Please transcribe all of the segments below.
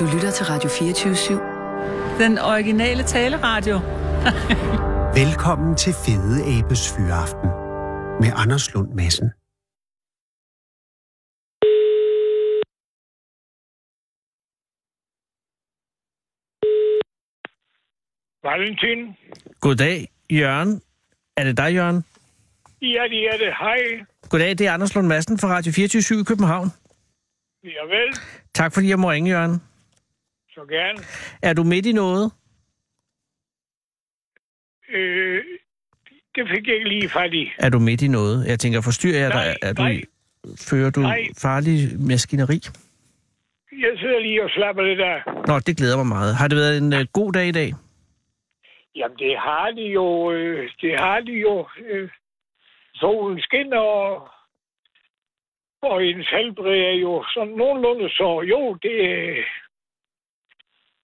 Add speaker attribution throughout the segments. Speaker 1: Du lytter til Radio 24 /7.
Speaker 2: Den originale taleradio.
Speaker 3: Velkommen til Fede Abes Fyraften med Anders Lund Madsen.
Speaker 4: Valentin?
Speaker 5: Goddag, Jørgen. Er det dig, Jørgen?
Speaker 4: Ja, det er det. Hej.
Speaker 5: Goddag, det er Anders Lund Madsen fra Radio 24 i København.
Speaker 4: Ja vel,
Speaker 5: Tak fordi jeg må ringe, Jørgen.
Speaker 4: så gerne.
Speaker 5: Er du midt i noget?
Speaker 4: Øh, det fik jeg ikke lige fat i.
Speaker 5: Er du midt i noget? Jeg tænker, forstyrrer jeg dig?
Speaker 4: Nej,
Speaker 5: Er du,
Speaker 4: nej.
Speaker 5: Fører du
Speaker 4: Nej.
Speaker 5: farlig maskineri?
Speaker 4: Jeg sidder lige og slapper lidt af.
Speaker 5: Nå, det glæder mig meget. Har det været en øh, god dag i dag?
Speaker 4: Jamen, det har de jo. Øh, det har de jo. Øh, solen skinner, og, og ens helbred er jo sådan nogenlunde så. Jo, det, øh,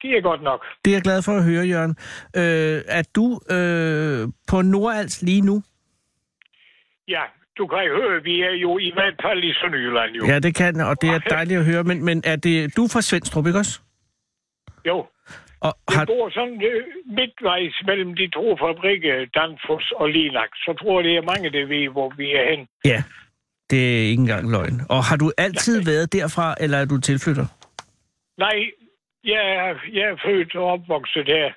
Speaker 4: det er godt nok.
Speaker 5: Det er jeg glad for at høre, Jørgen. Øh, er du øh, på Nordals lige nu?
Speaker 4: Ja, du kan jo høre, vi er jo i hvert fald i Sønderjylland jo.
Speaker 5: Ja, det kan, og det er dejligt at høre. Men, men er det, du er fra Svendstrup, ikke også?
Speaker 4: Jo,
Speaker 5: Og
Speaker 4: jeg
Speaker 5: har,
Speaker 4: bor sådan øh, midtvejs mellem de to fabrikker, Danfoss og Linak. Så tror jeg, det er mange, der ved, hvor vi er hen.
Speaker 5: ja, det er ikke engang løgn. Og har du altid været derfra, eller er du tilflytter?
Speaker 4: Nej, jeg er, jeg er født og opvokset her.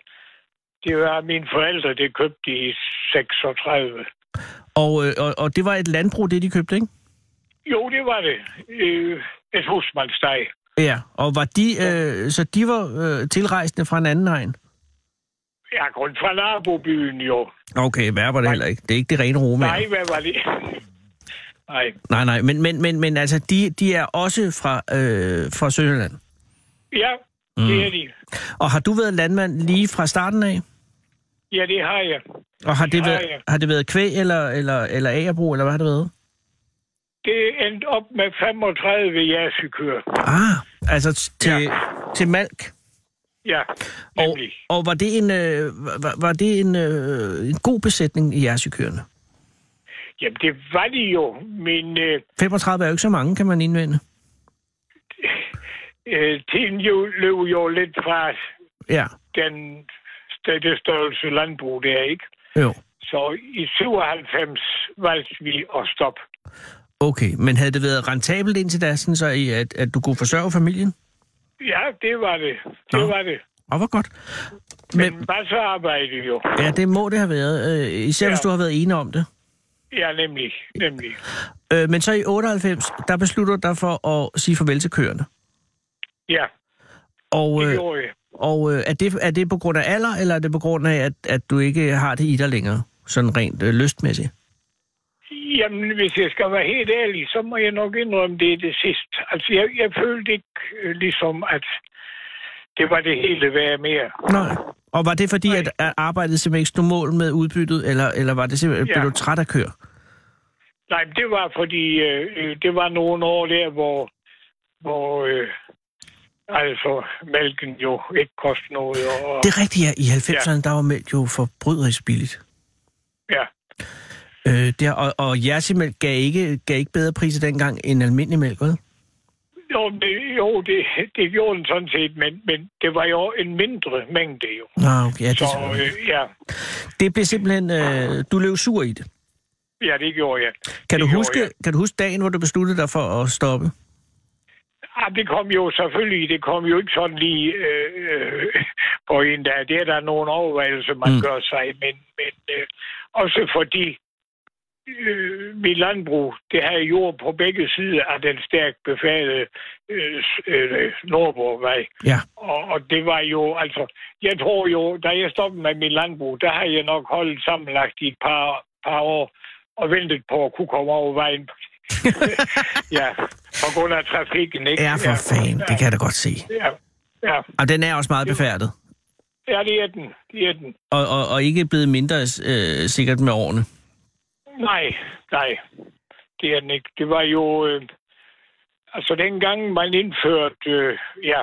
Speaker 4: Det var mine forældre, det købte i 36.
Speaker 5: Og, øh, og, og det var et landbrug, det de købte, ikke?
Speaker 4: Jo, det var det. Øh, et husmandsteg.
Speaker 5: Ja, og var de, øh, så de var øh, tilrejsende fra en anden egen?
Speaker 4: Jeg er kun fra nabobyen jo.
Speaker 5: Okay, hvad var det heller ikke. Det er ikke det rene Roma.
Speaker 4: Nej, hvad var det? Nej.
Speaker 5: nej, nej, men, men, men, men altså, de, de er også fra, øh, fra Sønderland.
Speaker 4: Ja, det er
Speaker 5: Mm.
Speaker 4: de.
Speaker 5: Og har du været landmand lige fra starten af?
Speaker 4: Ja, det har jeg.
Speaker 5: Og har det
Speaker 4: Ja,
Speaker 5: været,
Speaker 4: ja.
Speaker 5: har det været kvæg eller, eller, eller agerbrug, eller hvad har det været?
Speaker 4: Det endte op med 35 jersykøer.
Speaker 5: Ah, altså t- til, ja. til malk.
Speaker 4: Ja,
Speaker 5: Og,
Speaker 4: nemlig.
Speaker 5: og var det en, øh, var, var det en, øh, en god besætning i jersykøerne?
Speaker 4: Jamen, det var de jo, men øh,
Speaker 5: 35 er jo ikke så mange, kan man indvende.
Speaker 4: øh, tiden jo, løb jo lidt fra
Speaker 5: Ja,
Speaker 4: den, det størrelse landbrug, det er ikke.
Speaker 5: jo.
Speaker 4: Så i 97 valgte vi at stoppe.
Speaker 5: Okay, men havde det været rentabelt indtil da, sådan så i, at, at du kunne forsørge familien?
Speaker 4: Ja, det var det. Det
Speaker 5: Nå.
Speaker 4: var det.
Speaker 5: Og hvor godt.
Speaker 4: Men,
Speaker 5: Men,
Speaker 4: Men hvad så arbejde jo?
Speaker 5: ja, det må det have været, øh, især ja. hvis
Speaker 4: Ja.
Speaker 5: du har været ene om det.
Speaker 4: Ja, nemlig. nemlig.
Speaker 5: Øh, men så i 98, der beslutter du dig for at sige farvel til køerne.
Speaker 4: Ja,
Speaker 5: Og,
Speaker 4: det
Speaker 5: øh,
Speaker 4: gjorde jeg.
Speaker 5: og øh, er, det, er det på grund af alder, eller er det på grund af, at, at du ikke har det i dig længere? Sådan rent øh, lystmæssigt.
Speaker 4: Jamen, hvis jeg skal være helt ærlig, så må jeg nok indrømme det er det sidste. Altså, jeg, jeg følte ikke øh, ligesom, at det var det hele værd mere.
Speaker 5: Nej. Og var det fordi,
Speaker 4: Nej.
Speaker 5: at, at arbejdet simpelthen ikke stod mål med udbyttet, eller, eller var det simpelthen,
Speaker 4: Ja.
Speaker 5: blev du træt af køer?
Speaker 4: Nej, men det var fordi, øh, øh, det var nogle år der, hvor, hvor øh, altså, mælken jo ikke kostede noget. Og,
Speaker 5: Det er rigtigt, ja. I 90'erne, der var mælk jo forbryderisk billigt.
Speaker 4: ja.
Speaker 5: Øh, der, og, og jersimælk gav ikke, gav ikke bedre priser dengang end almindelig mælk, vel?
Speaker 4: Jo, det, jo det, det gjorde den sådan set, men, men det var jo en mindre mængde jo.
Speaker 5: Nå, okay, ja, det,
Speaker 4: Så
Speaker 5: så,
Speaker 4: øh, ja,
Speaker 5: det blev simpelthen... Øh, du løb sur i det.
Speaker 4: ja, det gjorde jeg.
Speaker 5: Kan du,
Speaker 4: det gjorde
Speaker 5: huske,
Speaker 4: jeg.
Speaker 5: kan du huske dagen, hvor du besluttede dig for at stoppe?
Speaker 4: Ah, det kom jo selvfølgelig, det kom jo ikke sådan lige øh, øh, på en dag. Det er der nogle overvejelser, man
Speaker 5: Mm.
Speaker 4: mm. gør sig, men, men øh, også fordi øh, mit landbrug, det havde jord på begge sider af den stærkt befaldede øh, s- øh, Nordborgvej.
Speaker 5: Ja.
Speaker 4: Og, og det var jo, altså, jeg tror jo, da jeg stoppede med mit landbrug, der har jeg nok holdt sammenlagt i et par, par år og ventet på at kunne komme over vejen. ja, på grund af trafikken, ikke?
Speaker 5: Ja, for fanden. Det kan jeg da godt se.
Speaker 4: Ja, ja,
Speaker 5: Og den er også meget befærdet.
Speaker 4: ja, det er den, det er den.
Speaker 5: Og, og, og ikke blevet mindre øh, sikkert med årene.
Speaker 4: Nej, nej, det er den ikke. Det var jo, øh, altså dengang man indførte, øh, ja,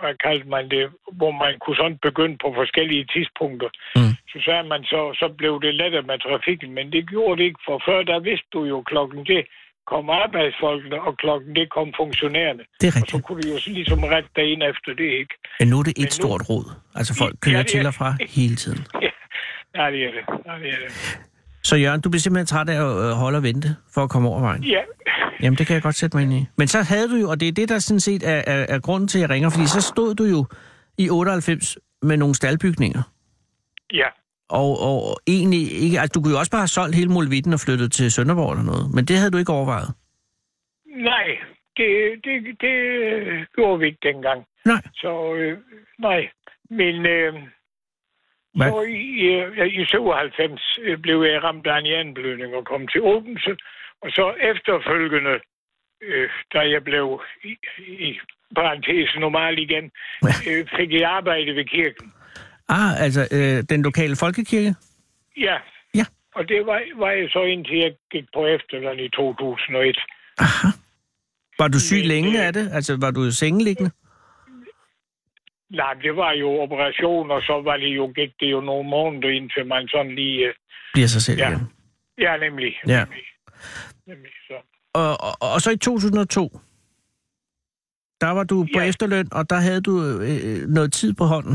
Speaker 4: hvad kaldte man det, hvor man kunne sådan begynde på forskellige tidspunkter,
Speaker 5: Mm.
Speaker 4: mm. så sagde man, så, så blev det lettere med trafikken, men det gjorde det ikke, for før der vidste du jo klokken det, kom arbejdsfolkene, og klokken det kom funktionærerne.
Speaker 5: Det er
Speaker 4: Og så
Speaker 5: rigtigt.
Speaker 4: kunne de jo så ligesom rette dig ind efter det, ikke?
Speaker 5: Men nu er det
Speaker 4: Men
Speaker 5: et
Speaker 4: nu-
Speaker 5: stort rod. Altså folk
Speaker 4: Ja,
Speaker 5: kører
Speaker 4: det er-
Speaker 5: til og fra hele tiden.
Speaker 4: Nej, det er det. Nej, det er det.
Speaker 5: Så Jørgen, du bliver simpelthen træt af at øh, holde og vente for at komme over vejen.
Speaker 4: Ja,
Speaker 5: Jamen, det kan jeg godt sætte mig ind i. Men så havde du jo, og det er det, der sådan set er, er, er grunden til, at jeg ringer, fordi så stod du jo i 98 med nogle staldbygninger.
Speaker 4: ja.
Speaker 5: Og, og egentlig ikke, altså du kunne jo også bare have solgt hele Mulvitten og flyttet til Sønderborg eller noget, men det havde du ikke overvejet.
Speaker 4: Nej, det, det, det øh, gjorde vi ikke dengang.
Speaker 5: Nej.
Speaker 4: Så øh, nej, men øh,
Speaker 5: Hvad?
Speaker 4: så i, øh, i 97 øh, blev jeg ramt af en hjerneblødning og kom til Odense. Og så efterfølgende, øh, da jeg blev i, i parentes normal igen,
Speaker 5: Ja.
Speaker 4: øh, fik jeg arbejde ved kirken.
Speaker 5: Ah, altså øh, den lokale folkekirke?
Speaker 4: Ja.
Speaker 5: Ja.
Speaker 4: Og det var, var jeg så indtil jeg gik på efterløn i 2001.
Speaker 5: Aha. Var du syg
Speaker 4: Men,
Speaker 5: længe
Speaker 4: øh,
Speaker 5: af det? Altså var du sengeliggende?
Speaker 4: Nej, det var jo operation, og så var det jo, gik det jo nogle måneder, indtil man sådan lige... øh,
Speaker 5: Bliver sig selv
Speaker 4: Ja.
Speaker 5: igen.
Speaker 4: Ja, nemlig.
Speaker 5: Ja.
Speaker 4: Nemlig. Nemlig, så.
Speaker 5: Og, og, og så i 2002, der var du på
Speaker 4: Ja.
Speaker 5: efterløn, og der havde du øh, noget tid på hånden.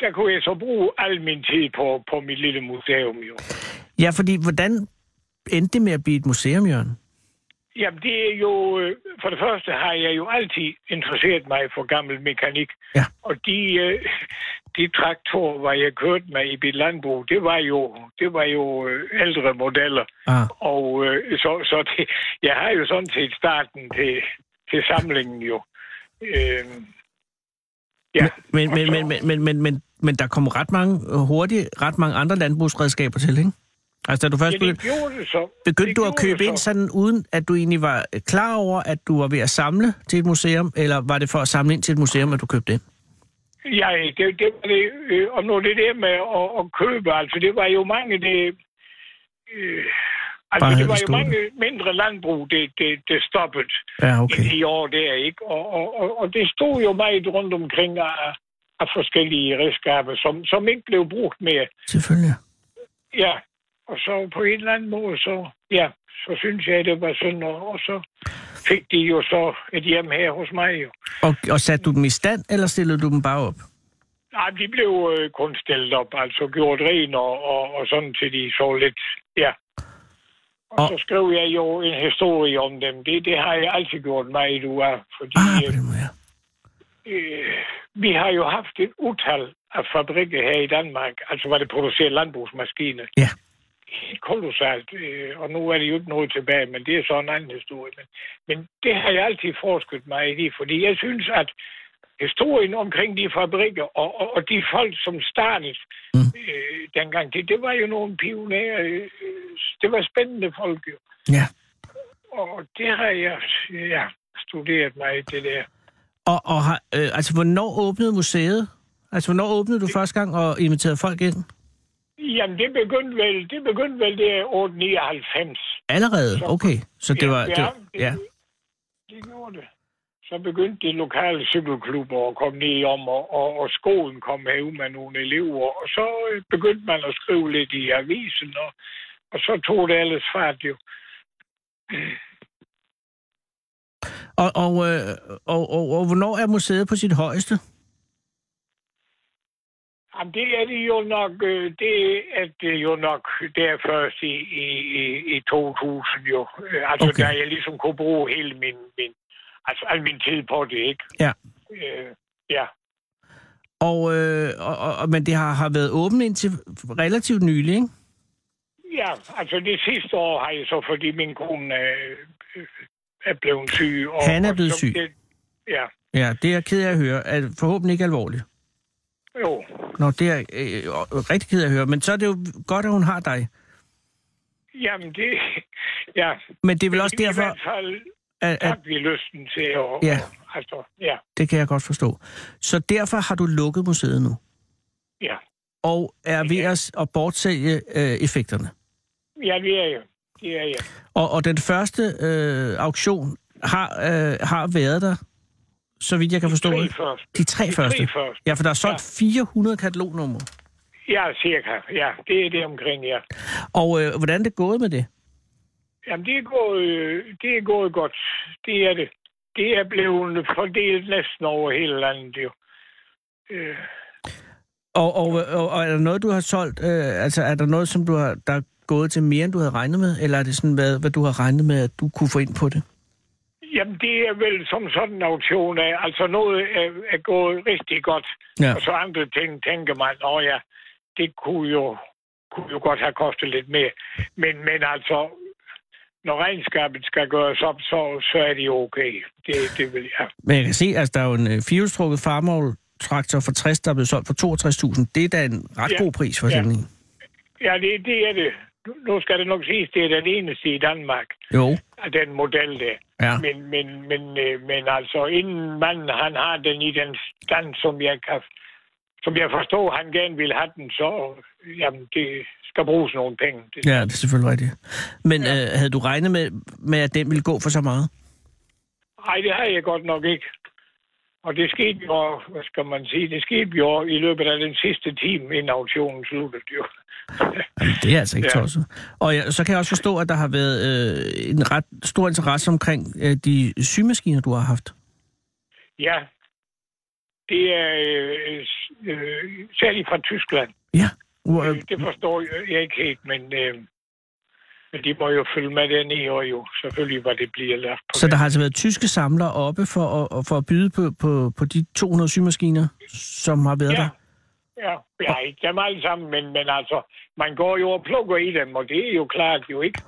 Speaker 4: Der kunne jeg så bruge al min tid på, på mit lille museum, jo.
Speaker 5: Ja, fordi hvordan endte det med at blive et museum, Jørgen?
Speaker 4: Jamen, det er jo... øh, For det første har jeg jo altid interesseret mig for gammel mekanik.
Speaker 5: Ja.
Speaker 4: Og de, øh, de traktorer, hvor jeg kørte med i mit landbrug, det var jo, det var jo øh, ældre modeller.
Speaker 5: Ah,
Speaker 4: Og øh, så, så det, jeg har jo sådan set starten til, til samlingen, jo. Øh, ja.
Speaker 5: men, men, men, men, men, men, men, men der kom ret mange øh, hurtigt, ret mange andre landbrugsredskaber til, ikke? Altså, da du først
Speaker 4: Ja, det
Speaker 5: begyndte,
Speaker 4: gjorde det så.
Speaker 5: begyndte
Speaker 4: det
Speaker 5: du at
Speaker 4: gjorde
Speaker 5: købe
Speaker 4: det
Speaker 5: ind
Speaker 4: så.
Speaker 5: sådan, uden at du egentlig var øh, klar over, at du var ved at samle til et museum, eller var det for at samle ind til et museum, at du købte ind?
Speaker 4: Ja, det, det var det. Øh, og nu det der med at, at købe, altså det var jo mange, det, øh, altså det
Speaker 5: Bare
Speaker 4: var
Speaker 5: havde det
Speaker 4: jo
Speaker 5: stået.
Speaker 4: mange mindre landbrug, det, det, det stoppede
Speaker 5: Ja,
Speaker 4: okay. i
Speaker 5: okay.
Speaker 4: de år der, ikke? Og, og, og, og det stod jo meget rundt omkring af, af forskellige redskaber, som, som ikke blev brugt mere.
Speaker 5: Selvfølgelig.
Speaker 4: Ja, og så på en eller anden måde, så, ja, så synes jeg, det var sådan, og, og så fik de jo så et hjem her hos mig jo.
Speaker 5: Og, og satte du dem i stand, eller stillede du dem bare op?
Speaker 4: Nej, de blev øh, kun stillet op, altså gjort ren og, og, og sådan til de så lidt, ja. Og,
Speaker 5: Og-
Speaker 4: og så skrev jeg jo en historie om dem. Det, det har jeg altid gjort meget ud af, fordi
Speaker 5: Ah, på
Speaker 4: øh,
Speaker 5: den måde, ja.
Speaker 4: øh, vi har jo haft et utal af fabrikker her i Danmark, altså hvor det producerer landbrugsmaskiner.
Speaker 5: Ja.
Speaker 4: Helt Kolossalt, øh, og nu er det jo ikke noget tilbage, men det er så en anden historie. Men, men det har jeg altid forsket mig i, fordi jeg synes, at historien omkring de fabrikker og, og, og de folk, som startede
Speaker 5: Mm.
Speaker 4: mm. øh, dengang, det, det var jo nogle pionerer. Øh, det var spændende folk jo.
Speaker 5: Ja.
Speaker 4: Og det har jeg ja, studeret mig i, det der.
Speaker 5: Og, og har, øh, altså, hvornår åbnede museet? Altså, hvornår åbnede du første gang og inviterede folk ind?
Speaker 4: Jamen, det begyndte vel, det begyndte vel der 899.
Speaker 5: Allerede?
Speaker 4: Så-
Speaker 5: Okay. Så det
Speaker 4: Ja,
Speaker 5: var... Det
Speaker 4: ja,
Speaker 5: var ja.
Speaker 4: Det gjorde det. Så begyndte de lokale cykelklubber at komme ned om, og, og, og skolen kom herud med nogle elever, og så øh, begyndte man at skrive lidt i avisen, og, og så tog det alles fart jo.
Speaker 5: Og, og, øh, og, og, og hvornår er museet på sit højeste?
Speaker 4: Jamen, det er det jo nok, øh, det er det jo nok der først i, i, i- i 2000 jo. Øh, Altså,
Speaker 5: Okay.
Speaker 4: okay. da jeg ligesom kunne bruge hele min, min, altså, al min tid på det, ikke?
Speaker 5: Ja.
Speaker 4: Øh, ja.
Speaker 5: Og, øh, og, og, og- men det har, har været åbent indtil relativt nylig, ikke?
Speaker 4: Ja, altså det sidste år har jeg så, fordi min kone øh, øh, er blevet syg. Og,
Speaker 5: Han er blevet
Speaker 4: og så-
Speaker 5: syg.
Speaker 4: det- Ja,
Speaker 5: Ja, det er jeg ked af at høre. Er forhåbentlig ikke alvorligt.
Speaker 4: jo.
Speaker 5: Nå, det er jeg øh, øh, rigtig ked af at høre. Men så er det jo godt, at hun har dig.
Speaker 4: Jamen det, ja.
Speaker 5: Men det er vel også
Speaker 4: I
Speaker 5: derfor,
Speaker 4: hvert fald
Speaker 5: at, at
Speaker 4: tabte vi lysten til at...
Speaker 5: Ja.
Speaker 4: Altså, ja,
Speaker 5: det kan jeg godt forstå. Så derfor har du lukket museet nu.
Speaker 4: ja.
Speaker 5: Og er ved at, at bortsælge øh, effekterne.
Speaker 4: Ja, det er jeg. Det er jeg.
Speaker 5: Og, og den første øh, auktion har, øh, har været der, så vidt jeg kan forstå.
Speaker 4: Tre
Speaker 5: ikke?
Speaker 4: først.
Speaker 5: De tre første.
Speaker 4: Tre først.
Speaker 5: Ja, for der er solgt 400 katalognumre.
Speaker 4: Ja, cirka. Ja, det er det omkring, ja.
Speaker 5: Og øh, hvordan er det gået med det?
Speaker 4: Jamen, det er gået, øh, det er gået godt. Det er det. Det er blevet fordelt næsten over hele landet, jo. Øh,
Speaker 5: Og, og, og, og er der noget, du har solgt? Øh, altså, er der noget, som du har, der er gået til mere, end du havde regnet med? Eller er det sådan, hvad, hvad du har regnet med, at du kunne få ind på det?
Speaker 4: Jamen, det er vel som sådan en auktion af, altså noget er, er gået rigtig godt,
Speaker 5: Ja.
Speaker 4: og så andre ting tænker man, åh ja, det kunne jo, kunne jo godt have kostet lidt mere. Men, men altså, når regnskabet skal gøres op, så, så er det jo okay. Det, det vil jeg.
Speaker 5: Men jeg kan se, at altså, der er jo en øh, firehjulstrukket farmål traktor for 60, der er blevet solgt for 62.000. Det er da en ret
Speaker 4: Ja.
Speaker 5: god pris for
Speaker 4: Ja.
Speaker 5: sådan en.
Speaker 4: Ja, det, det er det. Nu- Nu skal det nok siges, det er den eneste i Danmark,
Speaker 5: Jo,
Speaker 4: af den model der.
Speaker 5: ja.
Speaker 4: Men, men, men, øh, men altså, inden manden han har den i den stand, som jeg, kan, som jeg forstår, han gerne vil have den, så øh, jamen, det skal bruges nogle penge. Det,
Speaker 5: Ja, det er selvfølgelig rigtigt. Men ja. øh, havde du regnet med, med, at den ville gå for så meget?
Speaker 4: Ej, det har jeg godt nok ikke. Og det skete jo, hvad skal man sige, det skete jo i løbet af den sidste time, inden auktionen sluttede jo.
Speaker 5: Jamen, det er altså ikke ja.
Speaker 4: Ja.
Speaker 5: tosset. Og ja, så kan jeg også forstå, at der har været øh, en ret stor interesse omkring øh, de symaskiner, du har haft.
Speaker 4: Ja, det er øh, s- øh, særligt fra Tyskland.
Speaker 5: Ja. Hvor, øh,
Speaker 4: Øh, det forstår jeg- jeg ikke helt, men, øh, men de må jo følge med dernede, og jo selvfølgelig, hvad det bliver lagt på.
Speaker 5: så der
Speaker 4: den.
Speaker 5: har altså været tyske samlere oppe for at, for at byde på, på, på de 200 symaskiner, som har været
Speaker 4: Ja.
Speaker 5: der?
Speaker 4: Ja, jeg har ikke dem alle sammen, men, men altså, man går jo og plukker i dem, og det er jo klart jo ikke.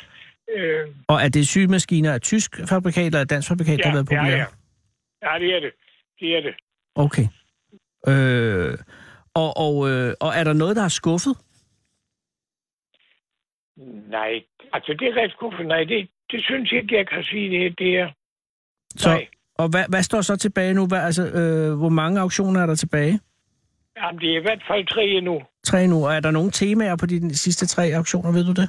Speaker 4: Øh,
Speaker 5: Og er det symaskiner af tysk fabrikat eller af dansk fabrikat, der har været populære?
Speaker 4: ja, ja. ja, det er det. Det er det.
Speaker 5: Okay. Øh, og, og, øh, og er der noget, der har skuffet?
Speaker 4: Nej, altså det er ret skuffende. Nej, det, det synes jeg ikke, jeg kan sige det. Det er...
Speaker 5: Så,
Speaker 4: Nej.
Speaker 5: Og hvad, hvad står så tilbage nu? Hvad, altså, øh, hvor mange auktioner er der tilbage?
Speaker 4: Jamen, det er i hvert fald tre endnu.
Speaker 5: Tre nu. Og er der nogle temaer på de sidste tre auktioner, ved du det?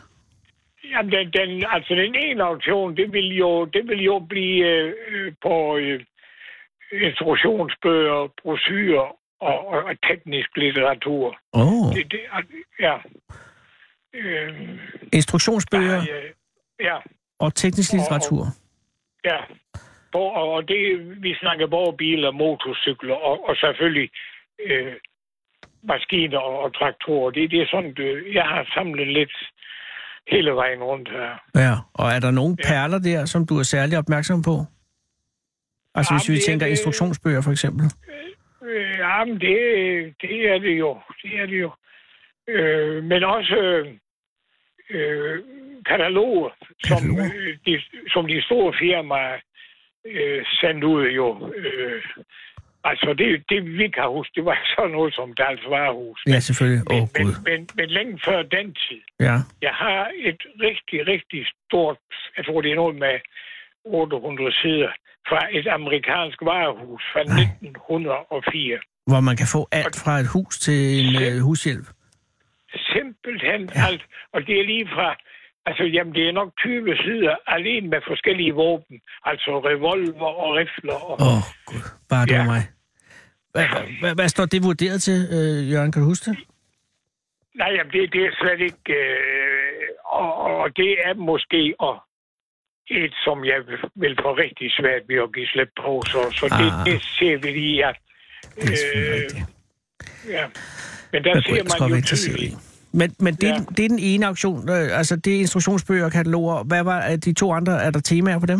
Speaker 4: Jamen, den, den, altså den ene auktion, det vil jo, det vil jo blive øh, øh, på øh, instruktionsbøger, brosyrer og, og, og teknisk litteratur.
Speaker 5: Åh. Oh.
Speaker 4: Det, det, er- ja. Øh,
Speaker 5: Instruktionsbøger
Speaker 4: ja, ja,
Speaker 5: og teknisk litteratur.
Speaker 4: ja. På, og, og det, vi snakker både biler, motorcykler og, og selvfølgelig øh, maskiner og, og traktorer. Det, det er sådan, øh, jeg har samlet lidt hele vejen rundt her.
Speaker 5: Ja. Og er der nogle
Speaker 4: Ja.
Speaker 5: perler der, som du er særlig opmærksom på? Altså
Speaker 4: Ja,
Speaker 5: hvis vi
Speaker 4: det er
Speaker 5: tænker
Speaker 4: det-
Speaker 5: instruktionsbøger for eksempel.
Speaker 4: Øh, jamen, det, det er det jo. Det er det jo. Øh, men også øh, øh, kataloger, som,
Speaker 5: Kataloger?
Speaker 4: øh, de, som de store firmaer øh, sendte ud jo. Øh, altså, det, det vi kan huske, det var sådan noget som Dals Varehus.
Speaker 5: Ja, selvfølgelig. Åh,
Speaker 4: Men,
Speaker 5: oh,
Speaker 4: men,
Speaker 5: Gud.
Speaker 4: men, men længe før den tid,
Speaker 5: Ja.
Speaker 4: jeg har et rigtig, rigtig stort, jeg tror det er noget med 800 sider, fra et amerikansk varehus fra 1904.
Speaker 5: Hvor man kan få alt fra et hus til en øh, hushjælp.
Speaker 4: simpelthen ja. alt. Og det er lige fra, altså jamen det er nok 20 sider alene med forskellige våben. Altså revolver og rifler. Og,
Speaker 5: Åh, oh, Gud. Bare du
Speaker 4: Ja.
Speaker 5: og mig. Hvad, hvad, hvad står det vurderet til, øh, Jørgen? Kan du huske det?
Speaker 4: Nej, jamen det, det er slet ikke... Øh, og, og det er måske og et, som jeg vil få rigtig svært ved at give slip på. Så, så det,
Speaker 5: Ah.
Speaker 4: det ser vi lige, at...
Speaker 5: Det er selvfølgelig rigtigt.
Speaker 4: ja. Men der
Speaker 5: Jeg kunne
Speaker 4: ser
Speaker 5: ellers godt
Speaker 4: man
Speaker 5: være
Speaker 4: jo
Speaker 5: interesseret i.
Speaker 4: tydeligt...
Speaker 5: Men, men det, ja.
Speaker 4: Ja.
Speaker 5: det er den ene auktion, øh, altså det er instruktionsbøger og kataloger. Hvad var øh, de to andre? Er der temaer på dem?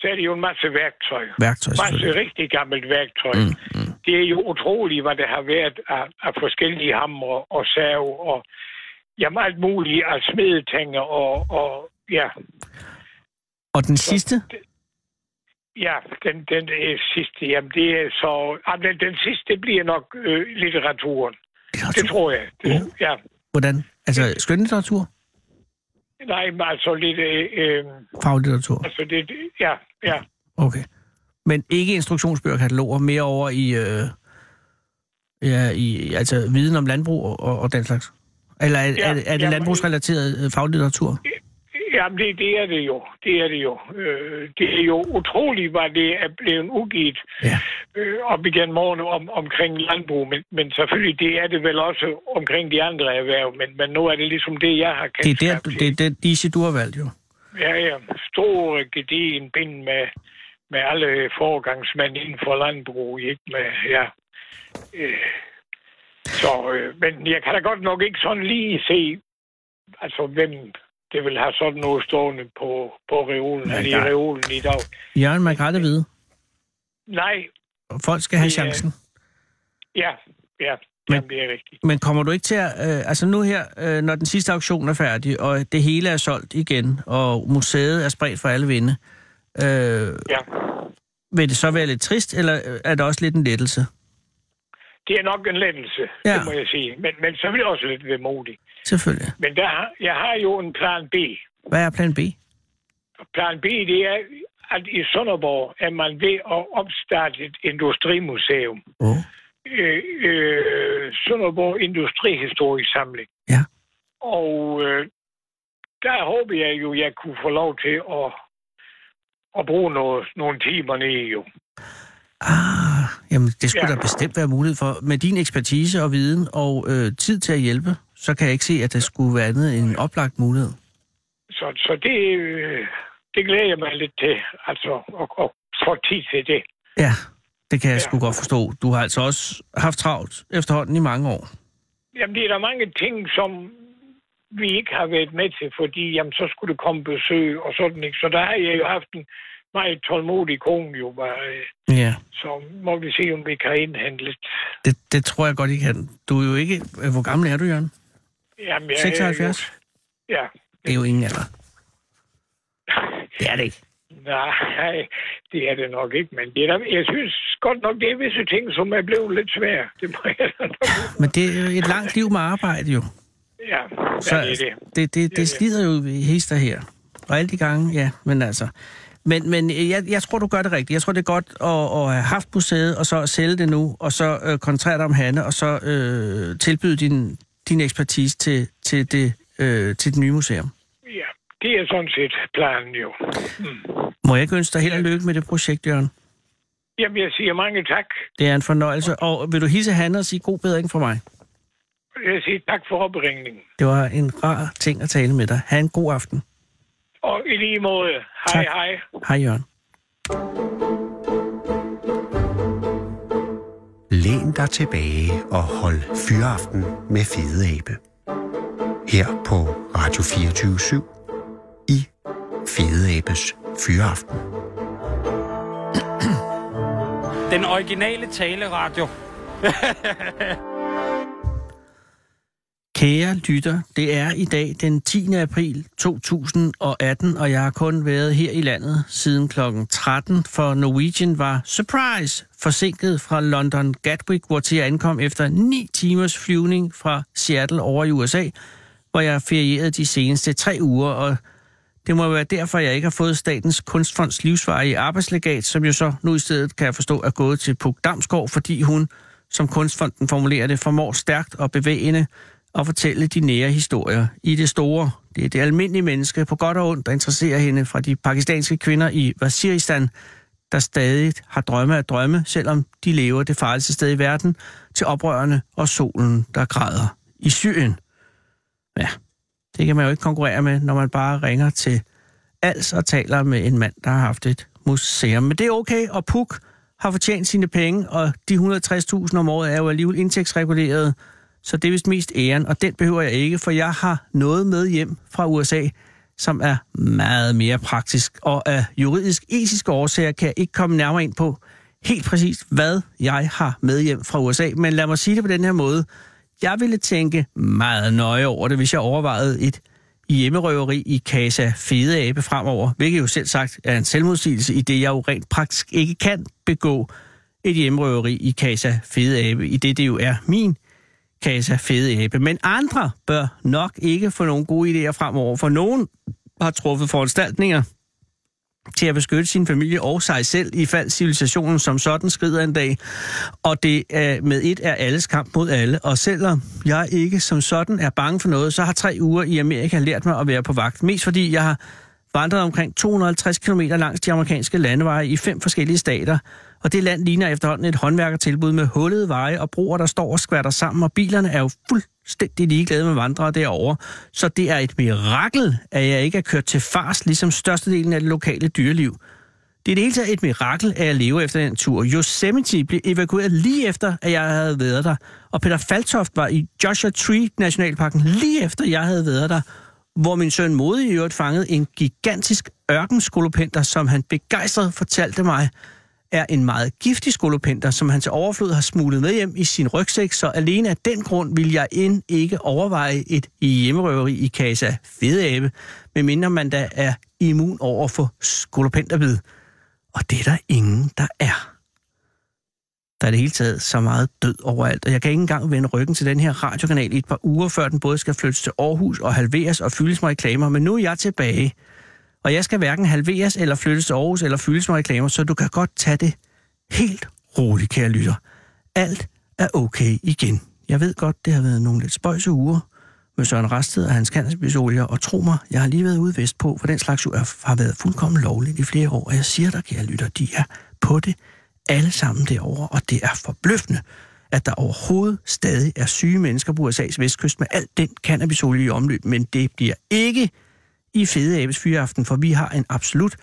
Speaker 4: Så er det jo en masse værktøj.
Speaker 5: Værktøj
Speaker 4: masse
Speaker 5: selvfølgelig.
Speaker 4: rigtig gammelt værktøj. Mm, mm. Det er jo utroligt, hvad der har været af, af forskellige hamre og sav og jamen, alt muligt af smedetænger og, og ja, øh,
Speaker 5: Og den sidste?
Speaker 4: ja, den, den øh, sidste, jamen det er så, jamen, den, den sidste bliver nok øh, litteraturen. Det tror jeg. Det, ja.
Speaker 5: Hvordan? Altså skønlitteratur?
Speaker 4: Nej, men altså lidt, øh, øh,
Speaker 5: Faglitteratur?
Speaker 4: altså det, det- ja, ja.
Speaker 5: Okay. Men ikke instruktionsbøger og kataloger, mere over i, øh, ja, i altså viden om landbrug og, og, og den slags? Eller er, ja,
Speaker 4: Ja,
Speaker 5: er, det- er det
Speaker 4: ja,
Speaker 5: ja,
Speaker 4: men-
Speaker 5: landbrugsrelateret øh, faglitteratur?
Speaker 4: Jamen, det, det er det jo. Det er det jo. Øh, det er jo utroligt, hvad det er blevet udgivet
Speaker 5: Ja.
Speaker 4: øh, op igen morgen om, omkring landbrug. Men, men selvfølgelig, det er det vel også omkring de andre erhverv. Men, men nu er det ligesom det, jeg har
Speaker 5: Det
Speaker 4: kendskab
Speaker 5: er, der,
Speaker 4: til.
Speaker 5: det er den niche, du har valgt jo.
Speaker 4: ja, ja, store gedigen bind med, med alle foregangsmænd inden for landbrug, ikke med, ja. Øh, så, øh, men jeg kan da godt nok ikke sådan lige se, altså hvem det vil have sådan noget stående på, på reolen,
Speaker 5: Men
Speaker 4: eller i
Speaker 5: der-
Speaker 4: reolen i dag.
Speaker 5: Jørgen, man kan aldrig vide.
Speaker 4: Nej,
Speaker 5: Folk skal have
Speaker 4: Det er-
Speaker 5: chancen.
Speaker 4: ja, ja,
Speaker 5: Men-
Speaker 4: jamen, det er rigtigt.
Speaker 5: Men kommer du ikke til at... Øh, altså nu her, øh, når den sidste auktion er færdig, og det hele er solgt igen, og museet er spredt for alle vinde, øh,
Speaker 4: Ja.
Speaker 5: vil det så være lidt trist, eller øh, er det også lidt en lettelse?
Speaker 4: Det er nok en lettelse,
Speaker 5: Ja.
Speaker 4: ja. det må jeg sige. Men, men så er det også lidt vemodigt.
Speaker 5: Selvfølgelig.
Speaker 4: Men der, har- jeg har jo en plan B.
Speaker 5: Hvad er plan B?
Speaker 4: Og plan B, det er, at i Sønderborg er man ved at opstarte et industrimuseum.
Speaker 5: Oh.
Speaker 4: Øh, øh, Sønderborg Industrihistorisk Samling.
Speaker 5: Ja.
Speaker 4: Og øh, der håber jeg jo, jeg kunne få lov til at, at bruge noget, nogle timer nede jo.
Speaker 5: Ah, jamen det skulle ja.
Speaker 4: Ja.
Speaker 5: der bestemt være mulighed for. Med din ekspertise og viden og øh, tid til at hjælpe, så kan jeg ikke se, at det skulle være andet end en oplagt mulighed.
Speaker 4: Så, så det, øh, det glæder jeg mig lidt til, altså at, at få tid til det.
Speaker 5: Ja, det kan jeg ja.
Speaker 4: Ja.
Speaker 5: sgu godt forstå. Du har altså også haft travlt efterhånden i mange år.
Speaker 4: Jamen, det er der mange ting, som vi ikke har været med til, fordi jamen, så skulle det komme besøg og sådan, ikke? Så der har jeg jo haft en meget tålmodig kone, jo, bare, øh,
Speaker 5: Ja,
Speaker 4: så må vi se, om vi kan indhente lidt.
Speaker 5: det, det tror jeg godt, I kan. Du er jo ikke... øh, Hvor gammel er du, Jørgen?
Speaker 4: Jamen, jeg, er jo-
Speaker 5: 76?
Speaker 4: Ja.
Speaker 5: Det er jo ingen alder. Det er det ikke.
Speaker 4: Nej, det er det nok ikke, men det er der, jeg synes godt nok, det er visse ting, som er blevet lidt svære. Det må jeg da nok.
Speaker 5: Men det er jo et langt liv med arbejde, jo.
Speaker 4: Ja,
Speaker 5: Så
Speaker 4: så, ja, det er det.
Speaker 5: det, det,
Speaker 4: ja.
Speaker 5: det slider jo ved hister her. Og alle de gange, ja, men altså. Men, men øh, jeg, jeg tror, du gør det rigtigt. Jeg tror, det er godt at, at have haft museet, og så sælge det nu, og så øh, koncentrere dig om Hanne, og så øh, tilbyde din, din ekspertise til, til, det, øh, til det nye museum.
Speaker 4: Ja, det er sådan set planen jo.
Speaker 5: Må jeg ikke ønske dig held og lykke med det projekt, Jørgen?
Speaker 4: Jamen, jeg siger mange tak.
Speaker 5: Det er en fornøjelse. Og vil du hisse Hanne og sige god bedring for mig?
Speaker 4: Jeg siger tak for opringningen.
Speaker 5: Det var en rar ting at tale med dig. Ha' en god aften.
Speaker 4: Og i lige måde, hej
Speaker 5: Tak.
Speaker 4: tak. hej.
Speaker 5: Hej, Jørgen.
Speaker 3: Læn dig tilbage og hold fyraften med Fede Abe. Her på Radio 24 i Fede Abes Fyraften.
Speaker 1: Den originale taleradio.
Speaker 5: Kære lytter, det er i dag den 10. april 2018, og jeg har kun været her i landet siden kl. 13, for Norwegian var surprise forsinket fra London Gatwick, hvor til jeg ankom efter 9 timers flyvning fra Seattle over i USA, hvor jeg har ferieret de seneste tre uger, og det må være derfor, jeg ikke har fået Statens Kunstfonds livsvarige arbejdslegat, som jo så nu i stedet kan jeg forstå er gået til Puk Damsgaard, fordi hun, som Kunstfonden formulerer det, formår stærkt og bevægende at fortælle de nære historier i det store. Det er det almindelige menneske på godt og ondt, der interesserer hende fra de pakistanske kvinder i Waziristan, der stadig har drømme af drømme, selvom de lever det farligste sted i verden, til oprørerne og solen, der græder i Syrien. Ja, det kan man jo ikke konkurrere med, når man bare ringer til Als og altså taler med en mand, der har haft et museum. Men det er okay, og Puk har fortjent sine penge, og de 160.000 om året er jo alligevel indtægtsreguleret, så det er vist mest æren, og den behøver jeg ikke, for jeg har noget med hjem fra USA, som er meget mere praktisk, og af juridisk-etiske årsager kan jeg ikke komme nærmere ind på helt præcist, hvad jeg har med hjem fra USA, men lad mig sige det på den her måde. Jeg ville tænke meget nøje over det, hvis jeg overvejede et hjemmerøveri i Casa Fede Abe fremover, hvilket jo selv sagt er en selvmodsigelse, i det jeg jo rent praktisk ikke kan begå et hjemmerøveri i Casa Fede Abe, i det det jo er min Casa Fede Abe. Men andre bør nok ikke få nogle gode idéer fremover, for nogen har truffet foranstaltninger til at beskytte sin familie og sig selv, ifald civilisationen som sådan skrider en dag. Og det er med et er alles kamp mod alle. Og selvom jeg ikke som sådan er bange for noget, så har tre uger i Amerika lært mig at være på vagt. Mest fordi jeg har vandret omkring 250 km langs de amerikanske landeveje i fem forskellige stater, Og det land ligner efterhånden et håndværkertilbud med hullede veje og broer, der står og skvatter sammen, og bilerne er jo fuldstændig ligeglade med vandrere derovre. Så det er et mirakel, at jeg ikke er kørt til fars, ligesom størstedelen af det lokale dyreliv. Det er i det hele taget et mirakel, at jeg lever efter den tur. Yosemite blev evakueret lige efter, at jeg havde været der. Og Peter Faltoft var i Joshua Tree Nationalparken lige efter, jeg havde været der, hvor min søn Mode i øvrigt fangede en gigantisk ørkenskolopenter, som han begejstret fortalte mig, er en meget giftig skolopenter, som han til overflod har smuglet med hjem i sin rygsæk, så alene af den grund vil jeg end ikke overveje et hjemmerøveri i Casa Fedeabe, medmindre man da er immun over for skolopenterbid. Og det er der ingen, der er. Der er i det hele taget så meget død overalt, og jeg kan ikke engang vende ryggen til den her radiokanal i et par uger, før den både skal flyttes til Aarhus og halveres og fyldes med reklamer, men nu er jeg tilbage. Og jeg skal hverken halveres eller flyttes til Aarhus eller fyldes med reklamer, så du kan godt tage det helt roligt, kære lytter. Alt er okay igen. Jeg ved godt, det har været nogle lidt spøjse uger med Søren Rasted og hans cannabisolie, og tro mig, jeg har lige været ude vest på, for den slags jo er- har været fuldkommen lovligt i flere år, og jeg siger dig, kære lytter, de er på det alle sammen derovre, og det er forbløffende, at der overhovedet stadig er syge mennesker på USA's vestkyst med alt den cannabisolie i omløb, men det bliver ikke i Fede Abes Fyraften, for vi har en absolut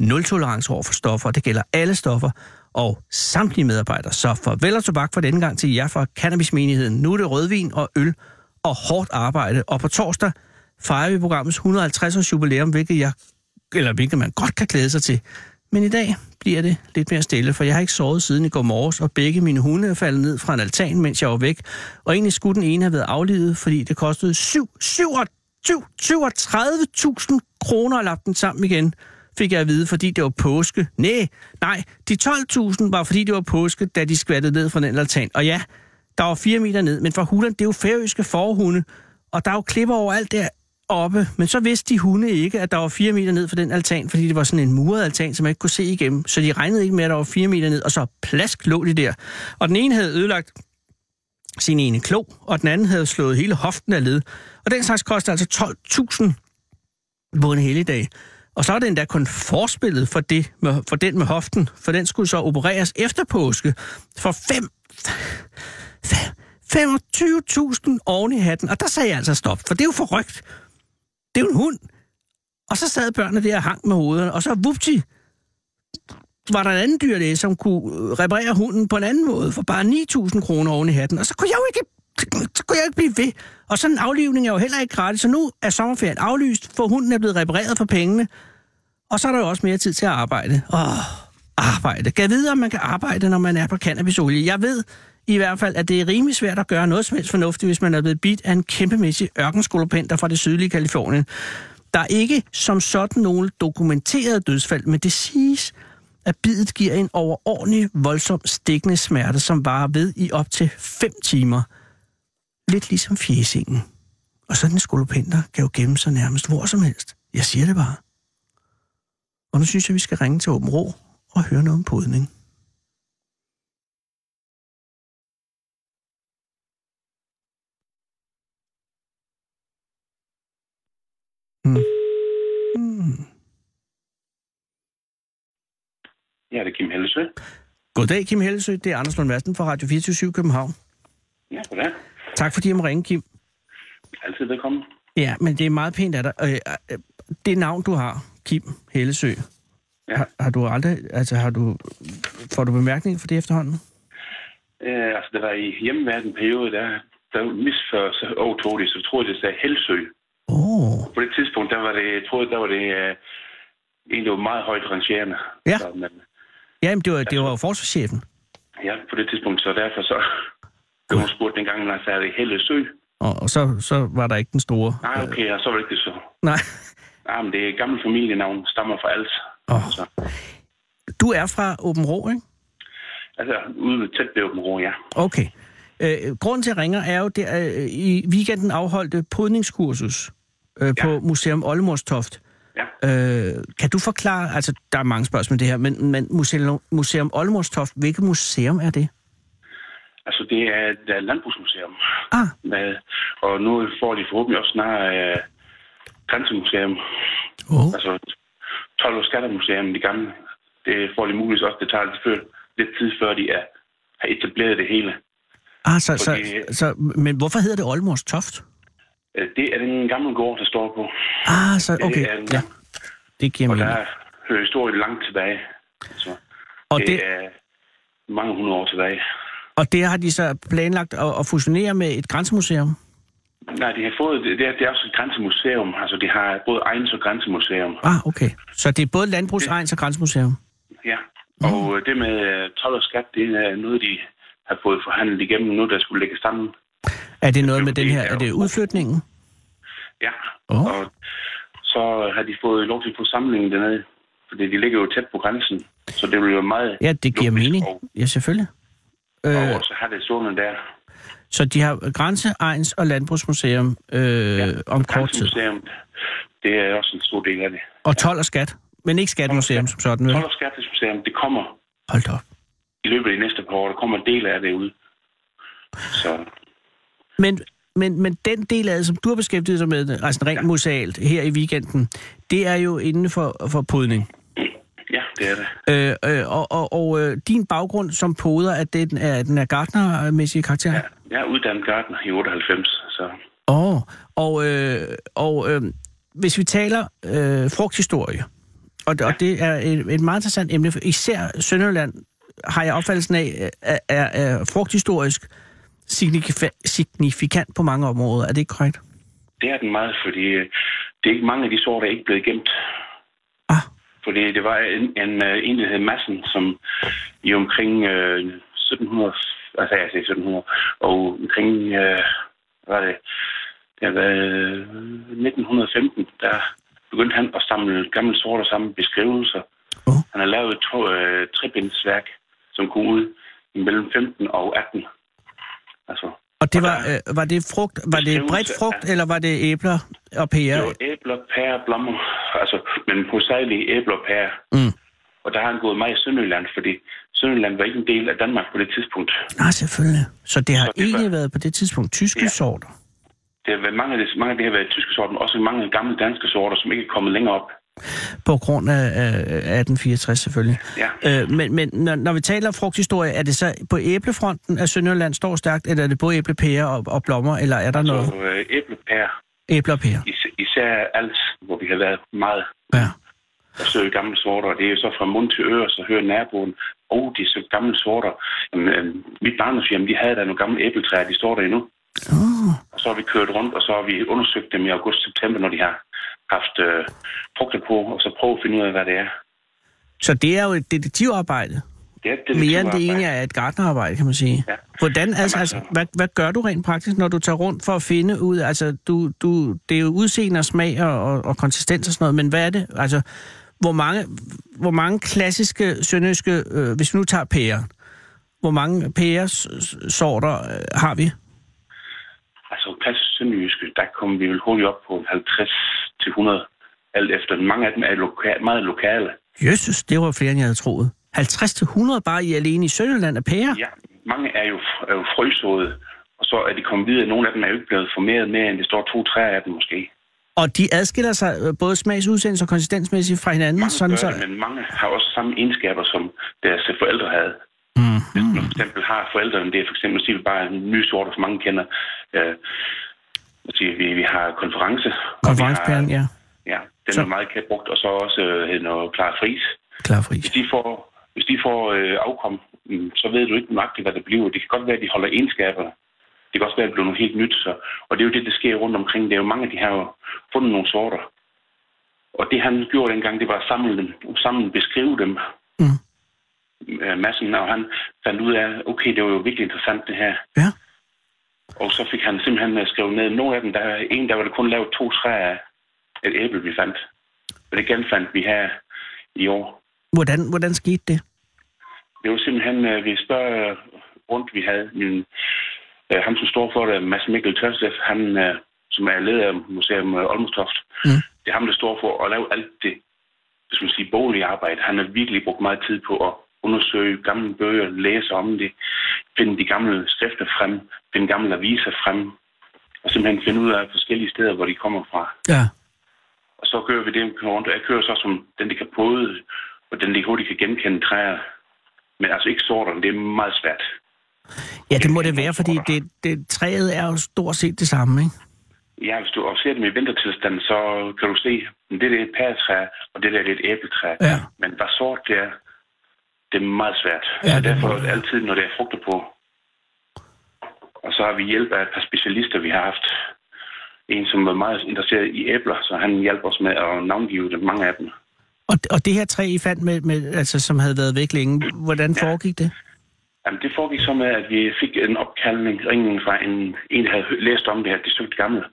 Speaker 5: nul-tolerance over for stoffer, og det gælder alle stoffer og samtlige medarbejdere. Så farvel og tobak for denne gang til jer fra Cannabismenigheden. Nu er det rødvin og øl og hårdt arbejde, og på torsdag fejrer vi programmets 150-års jubilæum, hvilket, jeg, eller hvilket man godt kan glæde sig til. Men i dag bliver det lidt mere stille, for jeg har ikke sovet siden i går morges, og begge mine hunde er faldet ned fra en altan, mens jeg var væk. Og egentlig skulle den ene have været aflivet, fordi det kostede 7, 7 37.000 kroner og lappede den sammen igen, fik jeg at vide, fordi det var påske. Nej, nej, de 12.000 var, fordi det var påske, da de skvattede ned fra den altan. Og ja, der var 4 meter ned, men for hulen, det er jo færøske forhunde, og der er jo klipper overalt deroppe. Men så vidste de hunde ikke, at der var 4 meter ned fra den altan, fordi det var sådan en muret altan, som man ikke kunne se igennem. Så de regnede ikke med, at der var 4 meter ned, og så plask lå de der. Og den ene havde ødelagt sin ene klo, og den anden havde slået hele hoften af led. Og den slags koster altså 12.000 på en helligdag. Og så er det endda kun forspillet for, det med, for den med hoften, for den skulle så opereres efter påske for 5... 25.000 oven i hatten. Og der sagde jeg altså stop, for det er jo forrygt. Det er jo en hund. Og så sad børnene der og hang med hovederne, og så vupti, var der en anden dyrlæge, som kunne øh, reparere hunden på en anden måde for bare 9.000 kroner oven i hatten. Og så kunne jeg jo ikke, så kunne jeg jo ikke blive ved. Og sådan en aflivning er jo heller ikke gratis, så nu er sommerferien aflyst, for hunden er blevet repareret for pengene. Og så er der jo også mere tid til at arbejde. Åh, arbejde. Kan vide, om man kan arbejde, når man er på cannabisolie. Jeg ved i hvert fald, at det er rimelig svært at gøre noget som helst fornuftigt, hvis man er blevet bidt af en kæmpemæssig ørkenskolopenter fra det sydlige Kalifornien. Der er ikke som sådan nogen dokumenteret dødsfald, men det siges, at bidet giver en overordentlig voldsom stikkende smerte, som varer ved i op til 5 timer. Lidt ligesom fjesingen. Og sådan en skolopenter kan jo gemme sig nærmest hvor som helst. Jeg siger det bare. Og nu synes jeg, vi skal ringe til Åben Rå og høre noget om podning. Hmm. Hmm.
Speaker 6: Ja, det er Kim Hellesø.
Speaker 5: Goddag, Kim Hellesø. Det er Anders Lund Madsen fra Radio 24 København.
Speaker 6: Ja, goddag.
Speaker 5: Tak fordi jeg må ringe, Kim.
Speaker 6: Altid velkommen.
Speaker 5: Ja, men det er meget pænt af dig. Øh, øh, Det navn, du har, Kim Hellesø,
Speaker 6: Ja.
Speaker 5: har, har du aldrig... Altså, har du, får du bemærkninger for det efterhånden?
Speaker 6: Øh, altså, det var i hjemmeværden periode, der, der misfør så overtog det, så troede jeg, det sagde Helsø.
Speaker 5: Åh, oh,
Speaker 6: På det tidspunkt, der var det, jeg troede, der var det øh, en, der var meget højt rangerende.
Speaker 5: Ja.
Speaker 6: Så, men,
Speaker 5: jamen, det var, det var jo forsvarschefen.
Speaker 6: ja, på det tidspunkt, så derfor så... Det var spurgt dengang, når jeg sagde, det Hellesø.
Speaker 5: Og, og så, så var der ikke den store...
Speaker 6: Nej, okay, ja, så var det ikke det så.
Speaker 5: Nej.
Speaker 6: Nej, men det er et gammelt familienavn, stammer fra alt.
Speaker 5: Åh.
Speaker 6: Så,
Speaker 5: Du er fra Åben Rå, ikke?
Speaker 6: altså, ude ved tæt ved Åben Rå, ja.
Speaker 5: Okay. Øh, grunden til, at jeg ringer, er jo, det er, øh, i weekenden afholdte podningskursus øh, ja. på
Speaker 6: Ja.
Speaker 5: Museum Oldemorstoft.
Speaker 6: Ja.
Speaker 5: Øh, kan du forklare, altså der er mange spørgsmål om det her, men, men Museum, museum Oldemorstoft, hvilket museum er det?
Speaker 6: Altså, det er et øh, landbrugsmuseum.
Speaker 5: Ah,
Speaker 6: Med, og nu får de forhåbentlig også snart øh, Grænsemuseum,
Speaker 5: oh.
Speaker 6: altså 12 års skattermuseum, de gamle. Det får de muligvis også, det tager de før. lidt tid før de er, har etableret det hele.
Speaker 5: Ah, så, så,
Speaker 6: Fordi-
Speaker 5: så, men hvorfor hedder det Olmors Toft?
Speaker 6: Øh, Det er den gamle gård, der står på.
Speaker 5: Ah, så,
Speaker 6: Det
Speaker 5: okay,
Speaker 6: er en-
Speaker 5: ja. Det giver
Speaker 6: Og
Speaker 5: mening.
Speaker 6: der hører historien langt tilbage. Så
Speaker 5: Og
Speaker 6: det,
Speaker 5: det,
Speaker 6: det er mange hundrede år tilbage.
Speaker 5: og det har de så planlagt at, at fusionere med et grænsemuseum?
Speaker 6: Nej, de har fået, det, er, det er også et grænsemuseum. Altså, de har både egens og grænsemuseum.
Speaker 5: Ah, okay. Så det er både landbrugsegns og grænsemuseum?
Speaker 6: Ja. Og øh, det med øh, told og skat, det er noget, de har fået forhandlet igennem nu, der skulle lægges sammen.
Speaker 5: Er det noget med den her,
Speaker 6: Det er
Speaker 5: er det
Speaker 6: jo-
Speaker 5: udflytningen?
Speaker 6: Ja.
Speaker 5: Åh.
Speaker 6: Og så har de fået lov til at få samlingen dernede, fordi de ligger jo tæt på grænsen. Så det bliver jo meget...
Speaker 5: Ja, det giver
Speaker 6: logisk,
Speaker 5: mening.
Speaker 6: Og,
Speaker 5: Ja, selvfølgelig.
Speaker 6: og,
Speaker 5: Øh,
Speaker 6: og så har det sådan der.
Speaker 5: så de har grænse, egns og landbrugsmuseum øh, om kort tid.
Speaker 6: Grænsemuseum, det er også en stor del af det.
Speaker 5: Og 12 og skat. Men ikke skattemuseum som sådan, vel?
Speaker 6: Told og skat, det kommer
Speaker 5: Hold da op.
Speaker 6: i løbet af de næste par år. Der kommer en del af det ud. Så
Speaker 5: Men, men, men den del af det, som du har beskæftiget dig med, altså rent ja. musealt, her i weekenden, det er jo inden for, for podning.
Speaker 6: ja, det er det.
Speaker 5: Øh, øh, og og, og øh, din baggrund som poder, at det den er, den er gartnermæssige karakter?
Speaker 6: Ja, jeg er uddannet gartner i 98, så
Speaker 5: Åh, oh, og, øh, og øh, hvis vi taler øh, frugthistorie, og, ja. og det er et, et meget interessant emne, for især Sønderjylland har jeg opfattelsen af, er, er, er frugthistorisk signifi- signifikant på mange områder. Er det ikke korrekt?
Speaker 6: det er den meget, fordi øh, det er ikke mange af de sår, der er ikke blevet gemt.
Speaker 5: Ah,
Speaker 6: Fordi det var en, en, øh, en der hed Madsen, som i omkring øh, 1700, altså jeg siger 1700, og omkring, øh, hvad var det, det var øh, 1915, der begyndte han at samle gamle sorter sammen, beskrivelser.
Speaker 5: Åh.
Speaker 6: Han har lavet et to, øh, trebindsværk, som kom ud mellem 15 og 18. Altså,
Speaker 5: og det var, øh, var det frugt, var det bredt
Speaker 6: Beskrivelse
Speaker 5: frugt,
Speaker 6: af-
Speaker 5: eller var det æbler og
Speaker 6: Det
Speaker 5: pærer?
Speaker 6: var æbler, pærer, blommer, altså, men hovedsageligt æbler og pærer.
Speaker 5: Mm.
Speaker 6: Og der har han gået meget i Sønderjylland, fordi Sønderjylland var ikke en del af Danmark på det tidspunkt.
Speaker 5: Nej, selvfølgelig. Så det har
Speaker 6: Så
Speaker 5: så
Speaker 6: det
Speaker 5: det
Speaker 6: var-
Speaker 5: egentlig været på det tidspunkt tyske ja.
Speaker 6: Ja.
Speaker 5: sorter.
Speaker 6: Det har været mange af det, mange af det har været tyske sorter, men også mange gamle danske sorter, som ikke er kommet længere op.
Speaker 5: På grund af øh, 1864 selvfølgelig.
Speaker 6: Ja.
Speaker 5: Øh, men men når, når vi taler frugthistorie, er det så på æblefronten, at Sønderjylland står stærkt, eller er det både æblepærer og, og blommer, eller er der noget?
Speaker 6: Så øh, æble, pærer,
Speaker 5: Æbler og pærer.
Speaker 6: is- især alt, hvor vi har været meget
Speaker 5: Ja.
Speaker 6: at søge gamle sorter, og det er jo så fra mund til øre, så hører naboen, oh, de så gamle sorter. Jamen, øh, mit barndomshjem, de havde der nogle gamle æbletræer, de står der endnu.
Speaker 5: Oh,
Speaker 6: Og så har vi kørt rundt, og så har vi undersøgt dem i august-september, når de har haft øh, frugter på, og så prøvet at finde ud af, hvad det er.
Speaker 5: så det er jo et detektivarbejde.
Speaker 6: Det er det,
Speaker 5: Mere end det ene er et gartnerarbejde, kan man sige.
Speaker 6: Ja.
Speaker 5: Hvordan, altså,
Speaker 6: altså-
Speaker 5: altså hvad, hvad gør du rent praktisk, når du tager rundt for at finde ud? Altså, du, du, det er jo udseende og smag og, og, og konsistens og sådan noget, men hvad er det? Altså, hvor mange, hvor mange klassiske sønderjyske, øh, hvis vi nu tager pærer, hvor mange pæresorter øh, har vi?
Speaker 6: Altså, klassisk sønderjyske, der kommer vi vel hurtigt op på 50-100, alt efter. Mange af dem er loka- meget lokale.
Speaker 5: Jesus, det var flere, end jeg havde troet. 50-100 bare i alene i Sønderjylland af pærer?
Speaker 6: Ja, mange er jo, er jo frøsåede, og så er de kommet videre. Nogle af dem er jo ikke blevet formeret mere, end det står to træer af dem måske.
Speaker 5: Og de adskiller sig øh, både smagsudsendelse og konsistensmæssigt fra hinanden,
Speaker 6: Mange
Speaker 5: sådan
Speaker 6: gør
Speaker 5: så...
Speaker 6: det, men mange har også samme egenskaber, som deres forældre havde.
Speaker 5: Mm.
Speaker 6: Mm-hmm. For eksempel har forældrene, det er for eksempel, nu siger vi bare en ny sort, som mange kender. Øh, nu siger vi, vi har konference. og
Speaker 5: Konferencepæren,
Speaker 6: vi har-
Speaker 5: ja.
Speaker 6: Ja, den er meget kendt brugt, og så også øh, noget klar fris.
Speaker 5: Klar fris.
Speaker 6: Hvis de får, hvis de får øh, afkom, mm, så ved du ikke nøjagtigt, hvad det bliver. Det kan godt være, at de holder egenskaber. Det kan også være, at det bliver noget helt nyt. Så. Og det er jo det, der sker rundt omkring. Det er jo mange, de har jo fundet nogle sorter. Og det han gjorde dengang, det var at samle dem, sammen beskrive dem.
Speaker 5: Mm.
Speaker 6: Øh, massen, og han fandt ud af, okay, det var jo virkelig interessant det her.
Speaker 5: Ja.
Speaker 6: Og så fik han simpelthen øh, skrevet ned, nogle af dem, der er en, der var der kun lavet to træer af et æble, vi fandt. Og det genfandt vi her i år.
Speaker 5: Hvordan, hvordan skete det?
Speaker 6: Det var simpelthen, øh, vi spørger øh, rundt, vi havde min, øh, ham, som står for det, Mads Mikkel Tørstef, han, øh, som er leder af Museum øh, Olmestoft.
Speaker 5: Mm.
Speaker 6: Det er ham, der står for at lave alt det, hvis man siger, boglige arbejde. Han har virkelig brugt meget tid på at undersøge gamle bøger, læse om det, finde de gamle skrifter frem, finde gamle aviser frem, og simpelthen finde ud af forskellige steder, hvor de kommer fra.
Speaker 5: Ja.
Speaker 6: Og så kører vi det rundt, og jeg kører så som den, der kan både, og den, der hurtigt kan genkende træer. Men altså ikke sorterne, det er meget svært.
Speaker 5: Ja, det må det være, fordi det, det, træet er jo stort set det samme, ikke?
Speaker 6: Ja, hvis du observerer dem i vintertilstand, så kan du se, at det der er et pæretræ, og det der det er et æbletræ.
Speaker 5: Ja.
Speaker 6: Men hvad sort det er, det er meget svært.
Speaker 5: Ja,
Speaker 6: Ja,
Speaker 5: det
Speaker 6: og derfor
Speaker 5: må
Speaker 6: er det
Speaker 5: det.
Speaker 6: altid, når der er frugter på. Og så har vi hjælp af et par specialister, vi har haft. En, som var meget interesseret i æbler, så han hjalp os med at navngive dem, mange af dem.
Speaker 5: Og, og det her træ, I fandt, med, med, altså, som havde været væk længe, hvordan foregik det?
Speaker 6: Jamen, det foregik så med, at vi fik en opkaldning, ringen fra en, en der havde hø- læst om det her, det søgte gamle.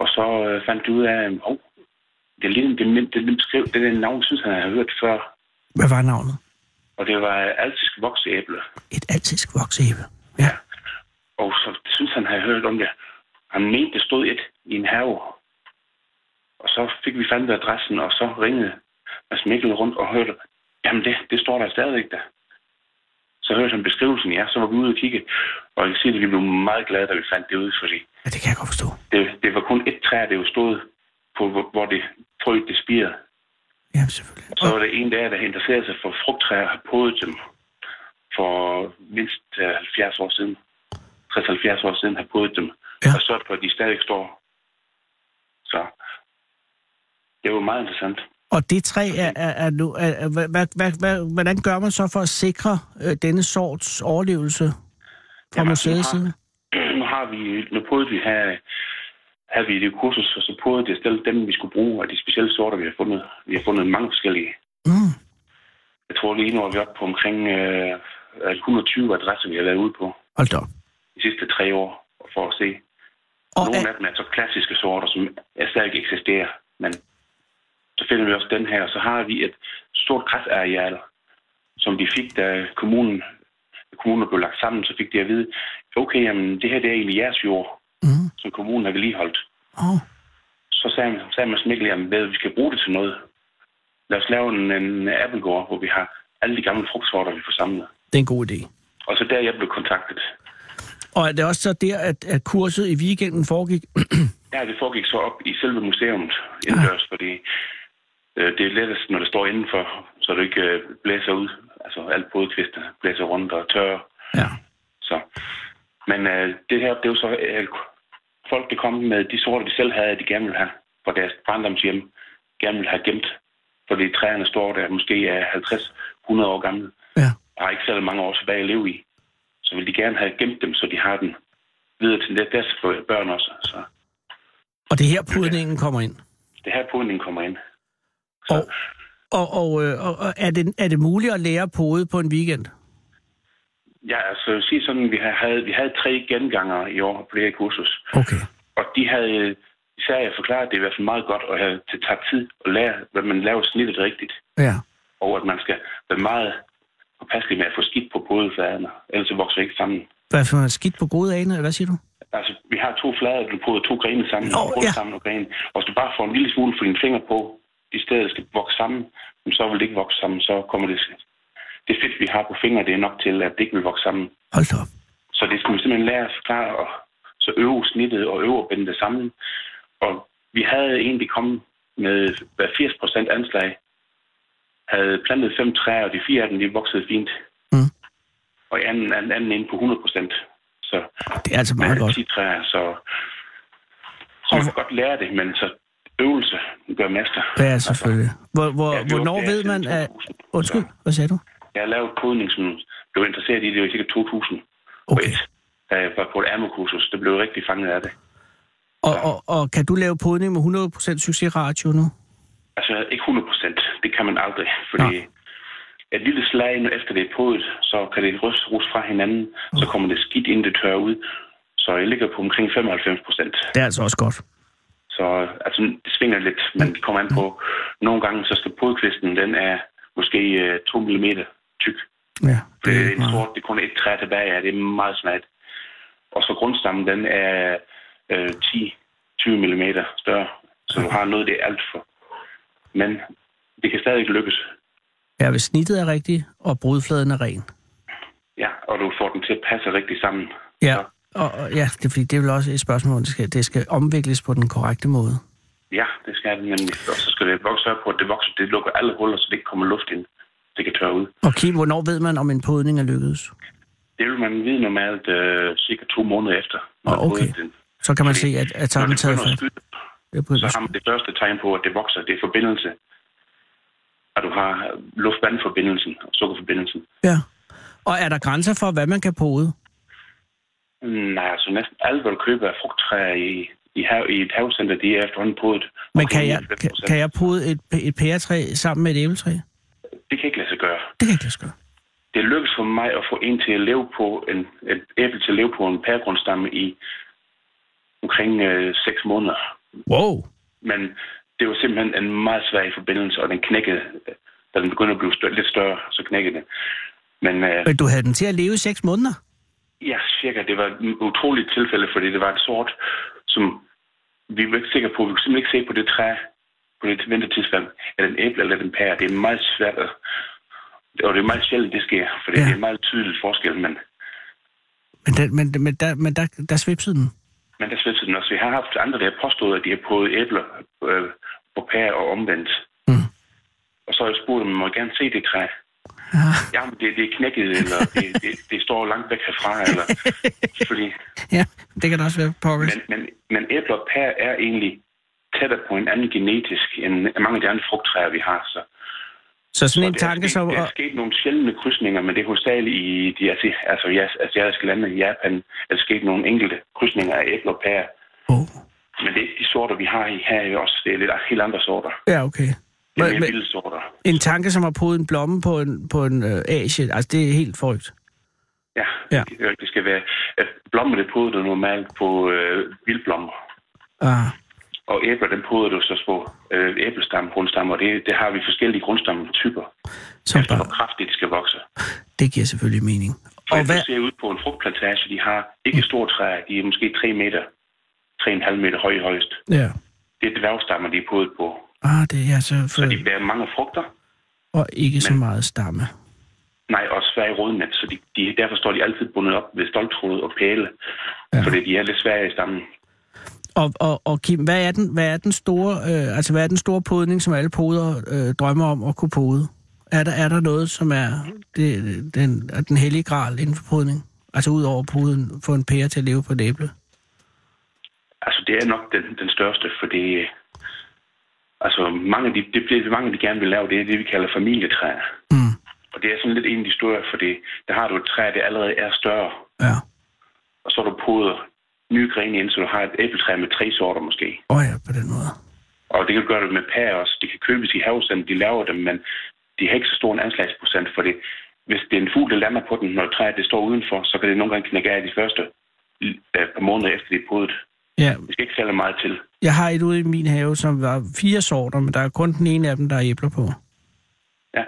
Speaker 6: Og så øh, fandt du ud af, at oh, det lignede, det, mind- det, det, skrev, det der navn, synes han, havde hørt før.
Speaker 5: Hvad var navnet?
Speaker 6: Og det var øh, altisk voksæble.
Speaker 5: Et altisk voksæbe. Ja.
Speaker 6: Og så synes han, havde hørt om det. Han mente, det stod et i en have. Og så fik vi fandt adressen, og så ringede Mads Mikkel rundt og hørte, jamen det, det står der stadigvæk der. Så hørte han beskrivelsen, ja, så var vi ude og kigge. Og jeg kan sige, at vi blev meget glade, da vi fandt det ud, fordi
Speaker 5: ja, det kan jeg godt forstå.
Speaker 6: det, det var kun et træ, det jo stod på, hvor, hvor det frø, det spirede.
Speaker 5: Ja, selvfølgelig.
Speaker 6: Så var der en der, der interesserede sig for frugttræer og har podet dem for mindst øh, 70 år siden. 60-70 år siden har podet dem.
Speaker 5: Ja.
Speaker 6: Ja. Og så på, at de stadig står. Så det var meget interessant.
Speaker 5: Og det træ er, er, er nu... Er, er, hvad, hvad, hvad, hvad, hvordan gør man så for at sikre øh, denne sorts overlevelse fra
Speaker 6: Jamen,
Speaker 5: museets
Speaker 6: altså, nu
Speaker 5: side?
Speaker 6: Nu har vi, nu podede vi her, havde vi det kursus, og så podede det stille dem, vi skulle bruge, og de specielle sorter, vi har fundet. Vi har fundet mange forskellige.
Speaker 5: Mm.
Speaker 6: Jeg tror lige nu er vi oppe på omkring øh, 120 adresser, vi har været ude på
Speaker 5: Hold da op.
Speaker 6: de sidste tre år, for at se,
Speaker 5: Og
Speaker 6: Nogle
Speaker 5: er,
Speaker 6: af dem er så klassiske sorter, som er stadig eksisterer, men så finder vi også den her, og så har vi et stort græsareal, som de fik, da kommunen, da kommunen blev lagt sammen, så fik de at vide, okay, jamen, det her det er egentlig jeres jord,
Speaker 5: mm.
Speaker 6: som kommunen har vedligeholdt.
Speaker 5: oh.
Speaker 6: Så sagde, sagde Mads Mikkel, jamen, hvad, vi skal bruge det til noget. Lad os lave en, en appelgård, hvor vi har alle de gamle frugtsorter, vi får samlet.
Speaker 5: Det er en god idé.
Speaker 6: Og så der jeg blev kontaktet.
Speaker 5: Og er det også så der, at, at kurset i weekenden foregik?
Speaker 6: Ja, det foregik så op i selve museet indendørs, ja. fordi øh, det er lettest, når det står indenfor, så det ikke øh, blæser ud. Altså alt podkvister blæser rundt og tørrer.
Speaker 5: ja.
Speaker 6: Så. Men øh, det her, det er jo så øh, folk, der kom med de sorter, de selv havde, de gerne ville have fra deres barndomshjem, gerne ville have gemt. Fordi træerne står der måske er 50-100 år gamle
Speaker 5: Ja.
Speaker 6: og har ikke særlig mange år tilbage at leve i. Så vil de gerne have gemt dem, så de har den videre til deres børn også. Så.
Speaker 5: Og det er her pudningen kommer ind.
Speaker 6: Det er her podningen kommer ind.
Speaker 5: Og, og, og, øh, og, og er, det, er det muligt at lære at pode på en weekend?
Speaker 6: Ja, altså jeg vil sige sådan, vi har- havde, vi havde tre genganger i år på det her kursus.
Speaker 5: Okay.
Speaker 6: Og de havde øh, især jeg forklaret, at det er i hvert fald meget godt at have til tager tid at lære, hvad man laver snittet rigtigt.
Speaker 5: Ja.
Speaker 6: Og at man skal være meget påpasselig med at få skidt på både fladerne, ellers så vokser det ikke sammen.
Speaker 5: Hvad for noget skidt på gode aner, eller hvad siger du?
Speaker 6: Altså, vi har to flader, du putter to grene sammen,
Speaker 5: Nå,
Speaker 6: oh, ja.
Speaker 5: ja.
Speaker 6: sammen og grene. Og hvis du bare får en lille smule for dine fingre på, i stedet skal vokse sammen, jamen, så vil det ikke vokse sammen, så kommer det... Det fedt, vi har på fingre, det er nok til, at det ikke vil vokse sammen.
Speaker 5: Hold da op.
Speaker 6: Så det skulle vi simpelthen lære at forklare, og så øve snittet og øve at binde det sammen. Og vi havde egentlig kommet med hver 80 procent anslag, havde plantet fem træer, og de fire af dem, de voksede fint.
Speaker 5: Mm.
Speaker 6: Og anden, anden, anden inde på 100 procent. Så
Speaker 5: Det er altså
Speaker 6: man
Speaker 5: meget
Speaker 6: havde
Speaker 5: godt.
Speaker 6: 10 træer, så, så man kan godt lære det, men så øvelse gør mester.
Speaker 5: Ja, selvfølgelig. Hvor, hvor,
Speaker 6: Ja, vi var
Speaker 5: hvornår
Speaker 6: der
Speaker 5: ved man,
Speaker 6: siden
Speaker 5: at...
Speaker 6: 2000,
Speaker 5: Undskyld,
Speaker 6: så.
Speaker 5: hvad sagde du?
Speaker 6: Jeg har lavet kodning, som blev interesseret i det, i cirka 2000.
Speaker 5: Okay.
Speaker 6: Da jeg var på et ammokursus, det blev jeg rigtig fanget af det.
Speaker 5: Og, og, og kan du lave podning med 100% succesratio nu?
Speaker 6: Altså ikke 100 procent. Det kan man aldrig, fordi
Speaker 5: Nå.
Speaker 6: et lille slag nu efter det er podet, så kan det ryste rus fra hinanden, så kommer det skidt, inden det tørrer ud. Så jeg ligger på omkring 95 procent.
Speaker 5: Det er altså også godt.
Speaker 6: Så altså, det svinger lidt, men det kommer an på. Nogle gange, så skal podkvisten, den er måske 2 mm tyk.
Speaker 5: Ja,
Speaker 6: Det er
Speaker 5: ikke
Speaker 6: en
Speaker 5: meget.
Speaker 6: sort, det er kun et træ tilbage af, det er meget smalt. Og så grundstammen, den er øh, 10-20 mm større, så du har noget, det er alt for. Men det kan stadig lykkes,
Speaker 5: Ja, hvis snittet er rigtigt, og brudfladen er ren.
Speaker 6: ja, og du får den til at passe rigtig sammen.
Speaker 5: Ja, og, og, ja det, er fordi det er vel også et spørgsmål, om det skal, det skal omvikles på den korrekte måde.
Speaker 6: Ja, det skal det nemlig. Og så skal det vokse op på, at det vokser, det lukker alle huller, så det ikke kommer luft ind. det kan tørre ud.
Speaker 5: Og Kim, hvornår ved man, om en podning er lykkedes?
Speaker 6: Det vil man vide normalt øh, cirka to måneder efter. når
Speaker 5: Nå, okay.
Speaker 6: båden den-
Speaker 5: Så kan man
Speaker 6: Fordi
Speaker 5: se, at, at
Speaker 6: Når
Speaker 5: takken er
Speaker 6: det
Speaker 5: taget
Speaker 6: begynder
Speaker 5: fat.
Speaker 6: at skyde,
Speaker 5: Det er på
Speaker 6: så har man det første tegn på, at det vokser. Det er forbindelse. Og du har luftvandforbindelsen og sukkerforbindelsen.
Speaker 5: Ja. Og er der grænser for, hvad man kan pode?
Speaker 6: Nej, altså næsten alt, hvad du køber af frugttræer i, i, hav, i et havcenter, de er efterhånden podet.
Speaker 5: Men
Speaker 6: Omkring
Speaker 5: kan jeg,
Speaker 6: 90%.
Speaker 5: kan, kan jeg pode et, et pæretræ sammen med et æbletræ? Det
Speaker 6: Det kan ikke lade sig gøre.
Speaker 5: kan jeg ikke lade sig gøre.
Speaker 6: Det lykkedes for mig at få en til at leve på en, et æble til at leve på en pæregrundstamme i omkring øh, 6 måneder.
Speaker 5: Wow.
Speaker 6: Men det var simpelthen en meget svær forbindelse, og den knækkede. Da den begyndte at blive større, lidt større, så knækkede den. Men øh,
Speaker 5: Men du havde den til at leve i seks måneder?
Speaker 6: Ja, cirka. Det var et utroligt tilfælde, fordi det var et sort, som vi var ikke sikre på. Vi kunne simpelthen ikke se på det træ, på det vintertidspunkt, er det en æble eller er det en pære. Det er meget svært, at- og det er meget sjældent, det sker, for
Speaker 5: Ja.
Speaker 6: ja. det er en meget tydelig forskel, men,
Speaker 5: Men, den, men, men, der, men der, der svipsede den.
Speaker 6: men der svipser den også. Vi har haft andre, der har påstået, at de har prøvet æbler øh, på pære og omvendt.
Speaker 5: Mm.
Speaker 6: Og så har jeg spurgt dem, må jeg gerne se det træ?
Speaker 5: Ja.
Speaker 6: Jamen, det, det er knækket, eller det, det, det står langt væk herfra, eller... Fordi
Speaker 5: ja, det kan da også være pokkers.
Speaker 6: Men, men, men æbler og pærer er egentlig tættere på en anden genetisk end mange af de andre frugttræer, vi har. Så,
Speaker 5: Så sådan
Speaker 6: og
Speaker 5: en
Speaker 6: der, er
Speaker 5: tanke
Speaker 6: sket,
Speaker 5: som...
Speaker 6: der
Speaker 5: Og,
Speaker 6: er sket nogle sjældne krydsninger, men det er hovedsageligt i de asi- altså, jas- asiatiske lande i Japan, er der sket nogle enkelte krydsninger af æbler og pærer.
Speaker 5: oh.
Speaker 6: Men det er ikke de sorter, vi har i her i os. Det er lidt helt andre sorter.
Speaker 5: Ja, okay.
Speaker 6: Det er
Speaker 5: Men,
Speaker 6: mere
Speaker 5: men,
Speaker 6: vilde sorter.
Speaker 5: en tanke som at pode en blomme på en, på en øh, asie, altså det er helt frygt.
Speaker 6: Ja,
Speaker 5: Ja.
Speaker 6: Det, det skal være... At blommer, det poder du normalt på øh, vildblommer.
Speaker 5: Ah.
Speaker 6: Og æbler, den poder du så på øh, æblestamme, grundstamme, og det, det har vi forskellige grundstammetyper.
Speaker 5: Som
Speaker 6: efter hvor
Speaker 5: bare,
Speaker 6: kraftigt det skal vokse.
Speaker 5: det giver selvfølgelig mening.
Speaker 6: For
Speaker 5: Og
Speaker 6: hvis
Speaker 5: hvad,
Speaker 6: du ser ud på en frugtplantage, de har ikke store træer, de er måske 3 meter, 3,5 meter høje højst.
Speaker 5: ja.
Speaker 6: Det er dværgstammer, de er podet på.
Speaker 5: Ah, det er så,
Speaker 6: Så
Speaker 5: for,
Speaker 6: de bærer mange frugter,
Speaker 5: og ikke så
Speaker 6: Men-
Speaker 5: meget stamme.
Speaker 6: nej, og svære i rodnet, så de, de, derfor står de altid bundet op ved stoltråd og pæle, ja. fordi de er lidt svære i stammen.
Speaker 5: Og, og, og Kim, hvad er den, hvad er den store, øh, altså hvad er den store podning, som alle poder øh, drømmer om at kunne pode? Er der, er der noget, som er det, den, er den hellige gral inden for podning? Altså ud over poden, få en pære til at leve på et æble?
Speaker 6: Altså, det er nok den, den største, fordi altså, mange af de, det, det, mange, de gerne vil lave, det er det, vi kalder familietræer.
Speaker 5: Mm,
Speaker 6: Og det er sådan lidt en af de store, fordi der har du et træ, der allerede er større,
Speaker 5: ja.
Speaker 6: og så er du poder nye grene ind, så du har et æbletræ med tre sorter måske.
Speaker 5: Åh oh ja, på den måde.
Speaker 6: Og det kan du gøre det med pærer også. Det kan købes i havecenter, de laver dem, men de har ikke så stor en anslagsprocent, for det, hvis det er en fugl, der lander på den, når træet det står udenfor, så kan det nogle gange knække af de første øh, par måneder efter det er podet.
Speaker 5: Ja,
Speaker 6: Det skal ikke særlig meget til.
Speaker 5: jeg har et ude i min have, som var fire sorter, men der er kun den ene af dem, der er æbler på.
Speaker 6: Ja.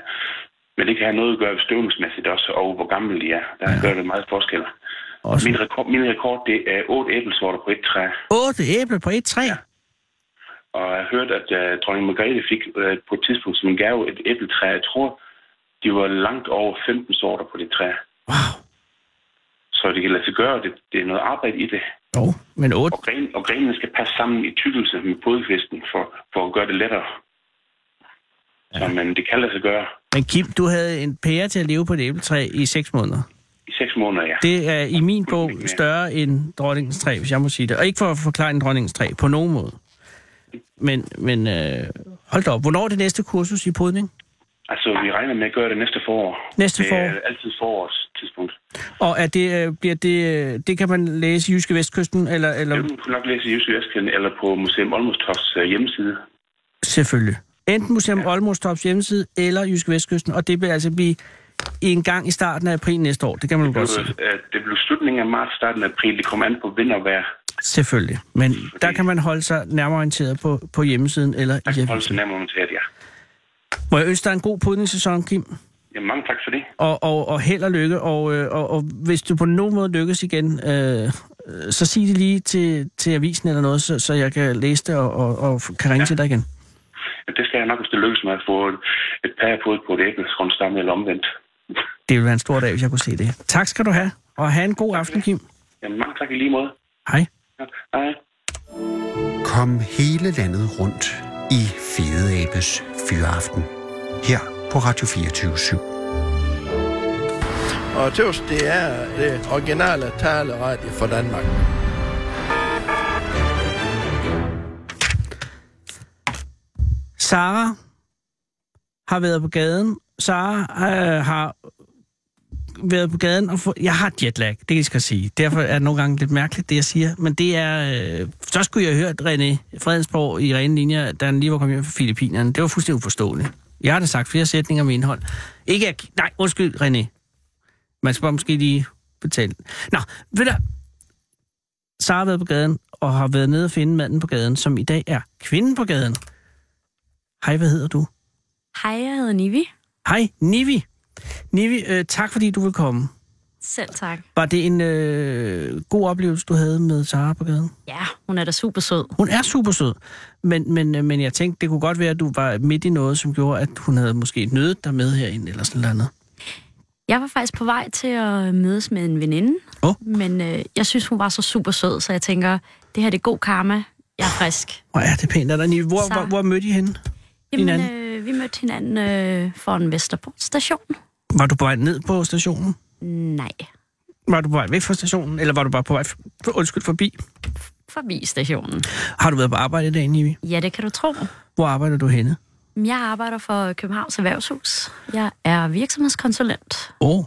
Speaker 6: Men det kan have noget at gøre støvningsmæssigt også, og hvor gammel de er. Der ja. gør det meget forskel.
Speaker 5: Også
Speaker 6: Min rekord, min rekord, det er otte æblesorter på et træ.
Speaker 5: otte æbler på et træ. Ja.
Speaker 6: Og jeg har hørt, at uh, dronning Margrethe fik uh, på et tidspunkt som en gave et æbletræ. Jeg tror, de var langt over 15 sorter på det træ.
Speaker 5: Wow.
Speaker 6: Så det kan lade sig gøre. Det, det er noget arbejde i det.
Speaker 5: Jo, men otte.
Speaker 6: Og, gren, og grenene skal passe sammen i tykkelse med podkvisten for, for at gøre det lettere. Ja. Så men det kan lade sig gøre
Speaker 5: Men Kim, du havde en pære til at leve på et æbletræ i seks måneder.
Speaker 6: i seks måneder, ja.
Speaker 5: Det er i min bog større end dronningens træ, hvis jeg må sige det. Og ikke for at forklare en dronningens træ på nogen måde. Men, men øh, hold da op. Hvornår er det næste kursus i podning?
Speaker 6: Altså, vi regner med at gøre det næste forår.
Speaker 5: Næste
Speaker 6: Det er
Speaker 5: forår.
Speaker 6: altid forårs tidspunkt.
Speaker 5: Og er det, øh, bliver det, øh, det kan man læse i Jyske Vestkysten? Eller, eller?
Speaker 6: Det kan du nok læse i Jyske Vestkysten eller på Museum Olmostofs øh, hjemmeside.
Speaker 5: Selvfølgelig. Enten Museum Olmostops hjemmeside eller Jyske Vestkysten. Og det vil altså blive en gang i starten af april næste år. Det kan man jo
Speaker 6: Det
Speaker 5: godt sige.
Speaker 6: blev, øh, det blev slutningen af marts, starten af april. Det kom an på vind og vejr.
Speaker 5: Selvfølgelig. Men der kan man holde sig nærmere orienteret på, på hjemmesiden eller i
Speaker 6: Der kan holde sig
Speaker 5: hjemmesiden.
Speaker 6: nærmere orienteret, ja.
Speaker 5: Må jeg ønske dig en god podningssæson, Kim?
Speaker 6: Jamen, mange tak for det.
Speaker 5: og, og, og held og lykke. Og, øh, og, og hvis du på nogen måde lykkes igen, øh, øh, så sig det lige til, til avisen eller noget, så, så jeg kan læse det og, og, og kan ringe ja. til dig igen.
Speaker 6: Jamen, Det skal jeg nok, hvis det lykkes med at få et- et par på på et æble, grundstamme eller omvendt.
Speaker 5: Det ville være en stor dag, hvis jeg kunne se det. Tak skal du have, og have en god aften, Kim.
Speaker 6: Jamen, mange tak i lige måde.
Speaker 5: Hej.
Speaker 6: Ja, Hej.
Speaker 3: Kom hele landet rundt i Fedeabes Fyraften. Her på Radio 24 /7.
Speaker 7: Og tøvs, det er det originale taleradio for Danmark.
Speaker 5: Sara har været på gaden. Sara øh, har været på gaden og få... Jeg har jetlag, det skal jeg sige. Derfor er det nogle gange lidt mærkeligt, det jeg siger. Men det er... Øh... Så skulle jeg have hørt René Fredensborg i rene linjer, da han lige var kommet hjem fra Filippinerne. Det var fuldstændig uforståeligt. Jeg har da sagt flere sætninger med indhold. Ikke at... Nej, undskyld, René. Man skal bare måske lige betale. Nå, ved du... Sara har været på gaden og har været nede og finde manden på gaden, som i dag er kvinden på gaden. Hej, hvad hedder du?
Speaker 8: Hej, jeg hedder Nivi.
Speaker 5: Hej, Nivi. Nivi, øh, tak fordi du vil komme.
Speaker 8: Selv tak.
Speaker 5: Var det en øh, god oplevelse, du havde med Sara på gaden?
Speaker 8: Ja, hun er da super sød.
Speaker 5: Hun er super sød, men, men, øh, men jeg tænkte, det kunne godt være, at du var midt i noget, som gjorde, at hun havde måske nødet dig med herinde eller sådan noget andet.
Speaker 8: Jeg var faktisk på vej til at mødes med en veninde,
Speaker 5: Åh.
Speaker 8: men øh, jeg synes, hun var så super sød, så jeg tænker, det her det er god karma. Jeg er frisk.
Speaker 5: Hvor er det pænt af dig, Nivi. Hvor,
Speaker 8: Så-
Speaker 5: hvor, hvor mødte I hende?
Speaker 8: Jamen,
Speaker 5: Hinanden.
Speaker 8: øh, vi mødte hinanden øh, for en Vesterport station.
Speaker 5: Var du på vej ned på stationen?
Speaker 8: Nej,
Speaker 5: Var du på vej væk fra stationen, eller var du bare på vej for, undskyld, forbi?
Speaker 8: forbi stationen.
Speaker 5: Har du været på arbejde i dag, Nivi?
Speaker 8: Ja, det kan du tro.
Speaker 5: Hvor arbejder du henne?
Speaker 8: Jeg arbejder for Københavns Erhvervshus. Jeg er virksomhedskonsulent.
Speaker 5: Åh. Oh.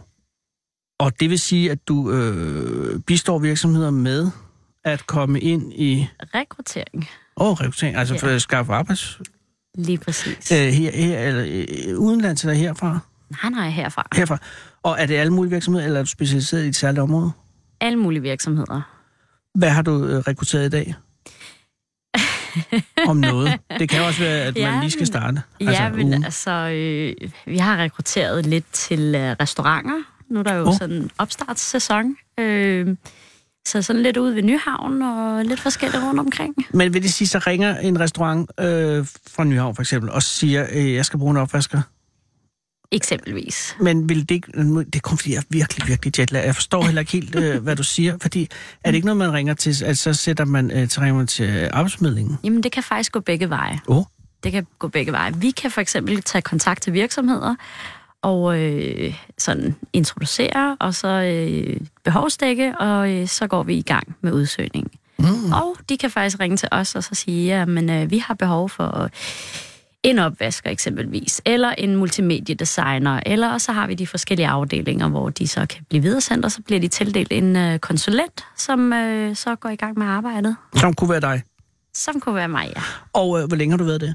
Speaker 5: Og det vil sige, at du øh, bistår virksomheder med at komme ind i
Speaker 8: Rekruttering.
Speaker 5: åh, oh, rekruttering, altså
Speaker 8: Ja.
Speaker 5: for at skaffe arbejds...
Speaker 8: Lige præcis.
Speaker 5: Øh, her, her, eller, øh, udenlands eller herfra,
Speaker 8: Han har jeg herfra.
Speaker 5: herfra. Og er det alle mulige virksomheder, eller er du specialiseret i et særligt område?
Speaker 8: Alle mulige virksomheder.
Speaker 5: Hvad har du øh, rekrutteret i dag? Om noget. Det kan også være, at man
Speaker 8: Ja,
Speaker 5: lige skal
Speaker 8: men-
Speaker 5: starte.
Speaker 8: Altså, ja, men
Speaker 5: ugen.
Speaker 8: altså, øh, vi har rekrutteret lidt til øh, restauranter. Nu er der jo
Speaker 5: Åh.
Speaker 8: oh. sådan opstartssæson. Øh, så sådan lidt ude ved Nyhavn og lidt forskelligt rundt omkring.
Speaker 5: men vil det sige, så ringer en restaurant øh, fra Nyhavn for eksempel, og siger, øh, jeg skal bruge en opvasker?
Speaker 8: Eksempelvis.
Speaker 5: Men vil det ikke... nu- Det er kun fordi, jeg er virkelig, virkelig jetlag. Jeg forstår heller ikke helt, øh, hvad du siger. Fordi er det ikke noget, man ringer til, at så sætter man, øh, så ringer man til øh, arbejdsformidlingen?
Speaker 8: Jamen, det kan faktisk gå begge veje.
Speaker 5: Åh, oh,
Speaker 8: Det kan gå begge veje. Vi kan for eksempel tage kontakt til virksomheder og øh, sådan introducere, og så øh, behovsdække, og øh, så går vi i gang med udsøgningen. Mm. Og de kan faktisk ringe til os og så sige, at øh, vi har behov for en opvasker eksempelvis, eller en multimediedesigner, eller og så har vi de forskellige afdelinger, hvor de så kan blive videresendt, og så bliver de tildelt en øh, konsulent, som øh, så går i gang med arbejdet,
Speaker 5: som kunne være dig.
Speaker 8: som kunne være mig, ja.
Speaker 5: Og øh, hvor længe har du været det?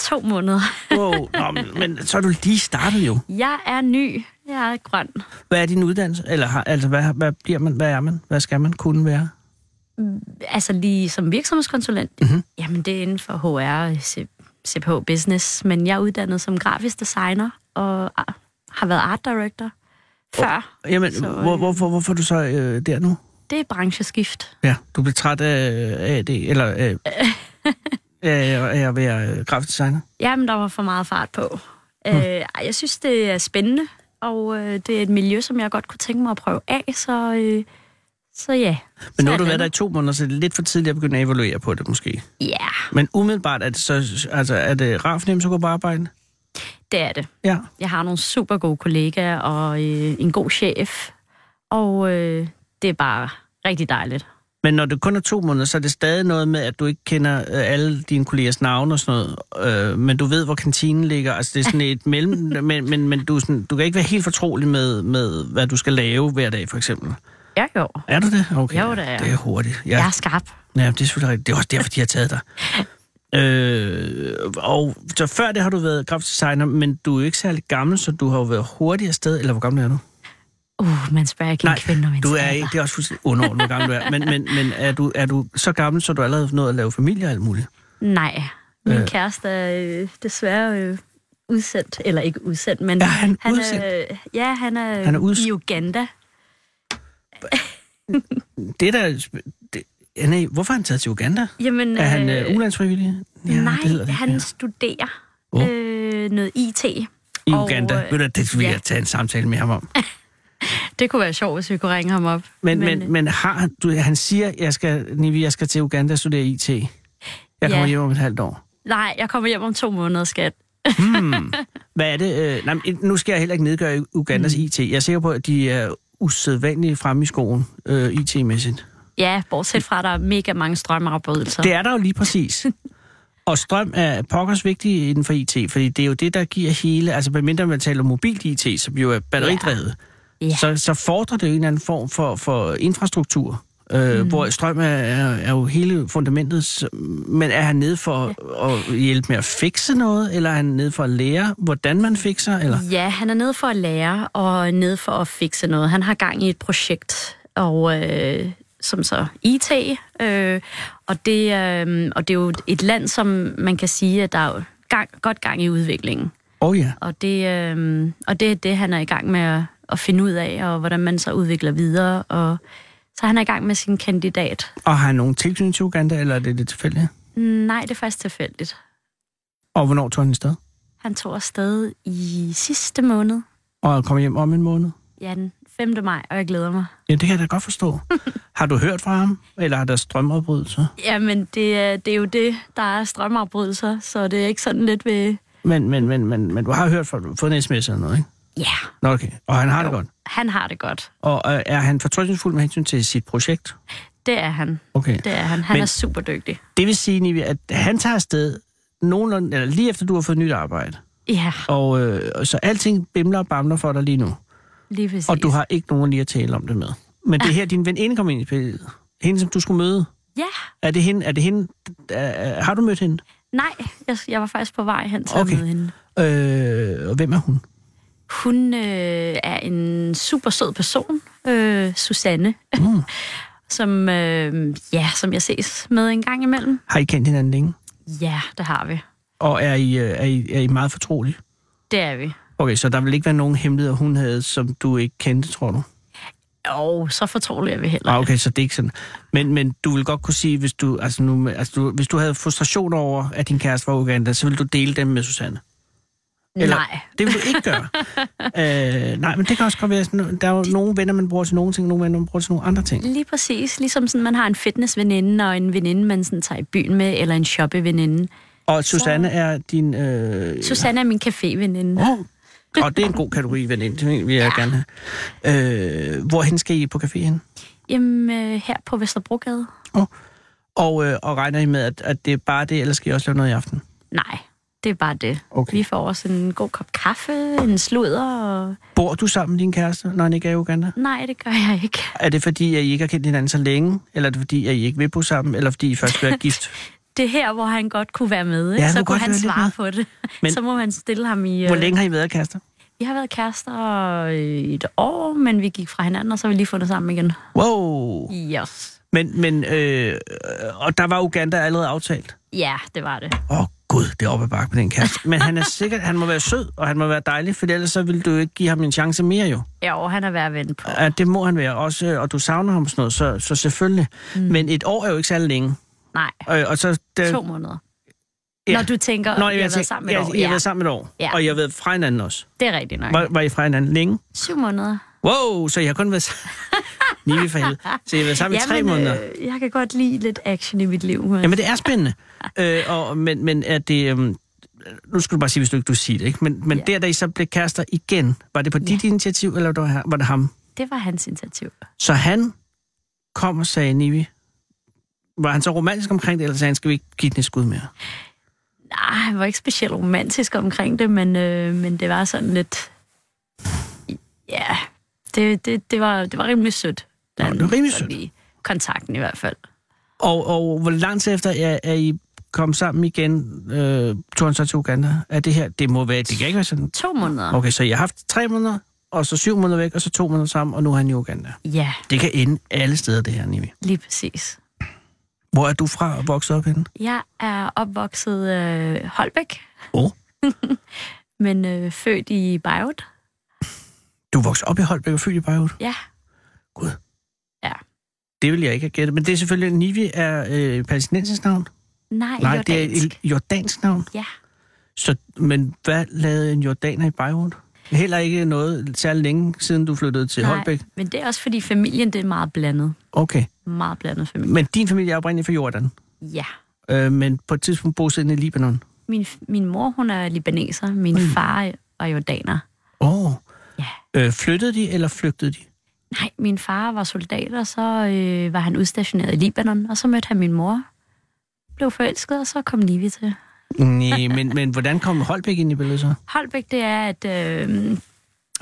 Speaker 8: To måneder.
Speaker 5: Wow, nå, men, men så er du lige startet jo.
Speaker 8: Jeg er ny. Jeg er grøn.
Speaker 5: Hvad er din uddannelse? Eller har, altså, hvad, hvad bliver man? Hvad er man? Hvad skal man kunne være?
Speaker 8: Altså lige som virksomhedskonsulent.
Speaker 5: Mhm.
Speaker 8: Mm-hmm. Jamen det er inden for HR, C- CPH Business, men jeg er uddannet som grafisk designer og ah, har været art director før.
Speaker 5: Jamen,
Speaker 8: Så,
Speaker 5: så,
Speaker 8: øh,
Speaker 5: hvor, hvorfor, hvorfor er du så øh, der nu?
Speaker 8: Det er brancheskift.
Speaker 5: Ja, du blev træt af, af det, eller øh, af, af at være øh, grafisk designer?
Speaker 8: Jamen der var for meget fart på. Mm. Øh, ej, jeg synes det er spændende, og øh, det er et miljø, som jeg godt kunne tænke mig at prøve af, så, øh, så ja.
Speaker 5: Men nu har du
Speaker 8: Så er
Speaker 5: været der i
Speaker 8: det.
Speaker 5: to måneder, så det er lidt for tidligt at begynde at evaluere på det, måske.
Speaker 8: Ja,
Speaker 5: Men umiddelbart er det så, altså, er det rart fornemmelse at gå på arbejde?
Speaker 8: det er det.
Speaker 5: Ja.
Speaker 8: Jeg har nogle super gode kollegaer og øh, en god chef, og øh, det er bare rigtig dejligt.
Speaker 5: Men når det kun er to måneder, så er det stadig noget med, at du ikke kender øh, alle dine kollegers navne og sådan noget. Øh, men du ved, hvor kantinen ligger. Altså, det er sådan et mellem... Men, men, men du, er sådan, du kan ikke være helt fortrolig med, med, hvad du skal lave hver dag, for eksempel.
Speaker 8: Jeg jo.
Speaker 5: Er du det? Okay.
Speaker 8: Jo, det er jeg.
Speaker 5: Det er hurtigt.
Speaker 8: Ja. Jeg
Speaker 5: Ja,
Speaker 8: er skarp.
Speaker 5: ja. det er selvfølgelig rigtigt. Det er også derfor, de har taget dig. Øh, og så før det har du været grafisk designer, men du er jo ikke særlig gammel, så du har jo været hurtig afsted. Eller hvor gammel er du?
Speaker 8: Uh, man spørger ikke en kvinde om hendes
Speaker 5: du er
Speaker 8: alder.
Speaker 5: ikke, det er også fuldstændig underordnet, hvor gammel du er. Men, men, men er, du, er du så gammel, så du allerede har nået at lave familie og alt muligt?
Speaker 8: Nej. Min
Speaker 5: Øh.
Speaker 8: øh. kæreste er øh, desværre øh, udsendt, eller ikke udsendt, men...
Speaker 5: Er han udsendt?
Speaker 8: Er, øh, ja, han er,
Speaker 5: Han er uds-
Speaker 8: i Uganda.
Speaker 5: Det der... Det, ja, nej, hvorfor er han taget til Uganda?
Speaker 8: Jamen,
Speaker 5: Er han øh, ulandsfrivillig?
Speaker 8: ja, nej,
Speaker 5: det hedder det.
Speaker 8: han
Speaker 5: Ja.
Speaker 8: studerer
Speaker 5: Åh.
Speaker 8: øh, noget IT.
Speaker 5: I
Speaker 8: og,
Speaker 5: Uganda.
Speaker 8: øh,
Speaker 5: Ved du, det vil
Speaker 8: ja.
Speaker 5: jeg tage en samtale med ham om.
Speaker 8: Det kunne være sjovt, hvis vi kunne ringe ham op.
Speaker 5: Men, men,
Speaker 8: øh,
Speaker 5: men, men har, han- du, han siger, jeg skal, Nivi, jeg skal til Uganda og studere IT. Jeg kommer
Speaker 8: Ja.
Speaker 5: hjem om et halvt år.
Speaker 8: Nej, jeg kommer hjem om to måneder, skat.
Speaker 5: Hmm. Hvad er det? Øh, nej, men nu skal jeg heller ikke nedgøre Ugandas mm. IT. Jeg er sikker på, at de er usædvanligt fremme i skoen, øh, IT-mæssigt.
Speaker 8: Ja, bortset fra, at der er mega mange strømafbrydelser.
Speaker 5: Det er der jo lige præcis. Og strøm er pokkers vigtig inden for IT, fordi det er jo det, der giver hele... Altså, medmindre man taler om mobilt IT, som jo er batteridrevet,
Speaker 8: Ja.
Speaker 5: så, så fordrer det jo en eller anden form for, for infrastruktur, øh, mm. hvor strøm er, er, er jo hele fundamentet. s- Men er han nede for at hjælpe med at fikse noget, eller er han nede for at lære, hvordan man fikser? Eller?
Speaker 8: Ja, han er nede for at lære og nede for at fikse noget. Han har gang i et projekt, og øh, som så IT, øh, og, det, øh, og det er jo et land, som man kan sige, at der er jo gang, godt gang i udviklingen.
Speaker 5: Åh oh, ja.
Speaker 8: Og det, øh, og det er det, han er i gang med at, at finde ud af, og hvordan man så udvikler videre. Og så er han er i gang med sin kandidat.
Speaker 5: Og har han nogen tilknytning til Uganda, eller er det det tilfælde?
Speaker 8: Nej, det er faktisk tilfældigt.
Speaker 5: Og hvornår tog han afsted?
Speaker 8: Han tog afsted i sidste måned,
Speaker 5: Og kommer hjem om en måned?
Speaker 8: ja, den 5. maj, og jeg glæder mig.
Speaker 5: Ja, det kan jeg da godt forstå. har du hørt fra ham, eller er der strømafbrydelser?
Speaker 8: Jamen, det, er- det er jo det, der er strømafbrydelser, så det er ikke sådan lidt ved...
Speaker 5: Men, men, men, men, men du har hørt fra, du har fået en sms eller noget, ikke?
Speaker 8: Ja,
Speaker 5: Nå, okay. Og han har det godt.
Speaker 8: han har det godt.
Speaker 5: Og øh, er han fortrøstningsfuld med hensyn til sit projekt?
Speaker 8: Det er han.
Speaker 5: Okay.
Speaker 8: Det er han. Han
Speaker 5: Men-
Speaker 8: Men... er super dygtig.
Speaker 5: Det vil sige, Nivi, at han tager afsted nogenlunde, eller lige efter du har fået nyt arbejde.
Speaker 8: Ja,
Speaker 5: Og øh, og så alting bimler og bamler for dig lige nu.
Speaker 8: lige præcis. Ah.
Speaker 5: Og du har ikke nogen lige at tale om det med. Men det er her, din veninde kom ind i billedet. Hende, som du skulle møde.
Speaker 8: Ja,
Speaker 5: Er det hende? Er det hende? Er, har du mødt hende?
Speaker 8: nej, jeg, jeg var faktisk på vej hen til
Speaker 5: Okay.
Speaker 8: okay. at møde hende.
Speaker 5: Øh, og hvem er hun?
Speaker 8: Hun øh, er en super sød person, øh, Susanne,
Speaker 5: Mm.
Speaker 8: som, øh, ja, som jeg ses med en gang imellem.
Speaker 5: Har I kendt hinanden længe?
Speaker 8: Ja, det har vi.
Speaker 5: Og er I, øh, er I, er I meget fortrolige?
Speaker 8: Det er vi.
Speaker 5: Okay, så der vil ikke være nogen hemmeligheder, hun havde, som du ikke kendte, tror du?
Speaker 8: Og så fortrolig er vi heller.
Speaker 5: Nej, okay, så det er ikke sådan. Men, men du vil godt kunne sige, hvis du, altså nu, altså du, hvis du havde frustration over, at din kæreste var Uganda, så ville du dele dem med Susanne?
Speaker 8: Nej.
Speaker 5: Det vil du ikke gøre. øh, nej, men det kan også godt være, sådan, der er jo nogle venner, man bruger til nogle ting, nogle venner, man bruger til nogle andre ting.
Speaker 8: Lige præcis. Ligesom sådan, man har en fitnessveninde og en veninde, man sådan tager i byen med, eller en shoppeveninde.
Speaker 5: Og Susanne er din... Øh,
Speaker 8: Susanne er min caféveninde.
Speaker 5: Åh, og det er en god kategori, veninde, det vil jeg ja. gerne have. Øh, hvorhen skal I på café hen?
Speaker 8: Jamen, øh, her på Vesterbrogade?
Speaker 5: Og, øh, og regner I med, at, at det er bare det, eller skal I også lave noget i aften?
Speaker 8: Nej, det er bare det.
Speaker 5: Okay.
Speaker 8: Vi får også en god kop kaffe, en sludder, og...
Speaker 5: Bor du sammen med din kæreste, når han ikke er i Uganda?
Speaker 8: Nej, det gør jeg ikke.
Speaker 5: Er det fordi, at I ikke har kendt hinanden så længe? Eller er det fordi, at I ikke vil bo sammen? Eller fordi I først vil være gift?
Speaker 8: Det er her, hvor han godt kunne være med, ikke?
Speaker 5: Ja,
Speaker 8: så
Speaker 5: må
Speaker 8: kunne
Speaker 5: godt
Speaker 8: han
Speaker 5: være lidt med.
Speaker 8: svare på det.
Speaker 5: Men-
Speaker 8: Men... Så må man stille ham i...
Speaker 5: Hvor
Speaker 8: øh,
Speaker 5: længe har I været kærester?
Speaker 8: Vi har været kærester i et år, men vi gik fra hinanden, og så har vi lige fundet sammen igen.
Speaker 5: Wow!
Speaker 8: Yes.
Speaker 5: Men, men øh, og der var Uganda allerede aftalt.
Speaker 8: Ja, det var det.
Speaker 5: Åh oh, gud, det er oppe ad bakke med den kæreste. Men han er sikkert, han må være sød, og han må være dejlig, for ellers så ville du jo ikke give ham en chance mere jo.
Speaker 8: Ja, og han er værd at vende på.
Speaker 5: Ja, det må han være også, øh, og du savner ham og sådan noget, så, så selvfølgelig. Mm. Men et år er jo ikke særlig længe. Øh,
Speaker 8: Nej.
Speaker 5: Og, og så, det,
Speaker 8: To måneder.
Speaker 5: Ja.
Speaker 8: Ja. Når du tænker, Nå, jeg, jeg har
Speaker 5: tænker-
Speaker 8: været sammen med
Speaker 5: jeg,
Speaker 8: et år.
Speaker 5: Jeg har
Speaker 8: Ja,
Speaker 5: været sammen et år,
Speaker 8: Ja.
Speaker 5: og jeg har været fra hinanden også.
Speaker 8: det er rigtigt nok.
Speaker 5: Var, var I fra hinanden længe?
Speaker 8: Syv måneder.
Speaker 5: Wow, så jeg har kun været Nivi for helvede. Så jeg har været sammen i tre måneder. Øh...
Speaker 8: Øh, jeg kan godt lide lidt action i mit liv. Men...
Speaker 5: Jamen, det er spændende. øh, og, men, men er det... Øhm, nu skal du bare sige, hvis du ikke du siger det, ikke? Men, men ja.
Speaker 8: Ja.
Speaker 5: der, da I så blev kærester igen, var det på dit initiativ, eller var det- var det ham?
Speaker 8: Det var hans initiativ.
Speaker 5: Så han kom og sagde, Nivi, var han så romantisk omkring det, eller sagde han, skal vi ikke give den et skud mere?
Speaker 8: Nej, han var ikke specielt romantisk omkring det, men, øh, men det var sådan lidt... Ja, det, det, det, var, det var rimelig sødt.
Speaker 5: Nå, det var rimelig sødt.
Speaker 8: I kontakten i hvert fald.
Speaker 5: Og, og hvor langt efter er, er I kommet sammen igen, øh, tog han så til Uganda? Er det her, det må være, det kan ikke være sådan.
Speaker 8: To måneder.
Speaker 5: Okay, så jeg har haft tre måneder, og så syv måneder væk, og så to måneder sammen, og nu er han i Uganda.
Speaker 8: Ja,
Speaker 5: Det kan ende alle steder, det her, Nivi.
Speaker 8: lige præcis.
Speaker 5: Hvor er du fra og vokset op henne?
Speaker 8: Jeg er opvokset øh, Holbæk,
Speaker 5: Åh, oh,
Speaker 8: men øh, født i Beirut.
Speaker 5: du er vokset op i Holbæk og født i Beirut.
Speaker 8: Ja,
Speaker 5: Gud.
Speaker 8: Ja.
Speaker 5: Det vil jeg ikke have gættet, men det er selvfølgelig, Nivi er øh, palæstinensisk navn.
Speaker 8: nej,
Speaker 5: Nej, det er
Speaker 8: jordansk.
Speaker 5: et jordansk navn.
Speaker 8: Ja.
Speaker 5: Så, men hvad lavede en jordaner i Beirut? Heller ikke noget særlig længe siden du flyttede til
Speaker 8: Nej,
Speaker 5: Holbæk.
Speaker 8: men det er også fordi familien, det er meget blandet.
Speaker 5: Okay.
Speaker 8: Meget blandet familie.
Speaker 5: Men din familie er oprindeligt fra Jordan,
Speaker 8: Ja,
Speaker 5: øh, men på et tidspunkt bosiddende i Libanon.
Speaker 8: Min, min mor, hun er libaneser. Min mm. far var jordaner.
Speaker 5: Åh. Oh.
Speaker 8: Ja.
Speaker 5: Øh, flyttede de, eller flygtede de?
Speaker 8: Nej, min far var soldat, og så øh, var han udstationeret i Libanon, og så mødte han min mor. Blev forelsket, og så kom Livi til.
Speaker 5: Nej, men, men hvordan kom Holbæk ind i billedet så?
Speaker 8: Holbæk, det er, at, øh,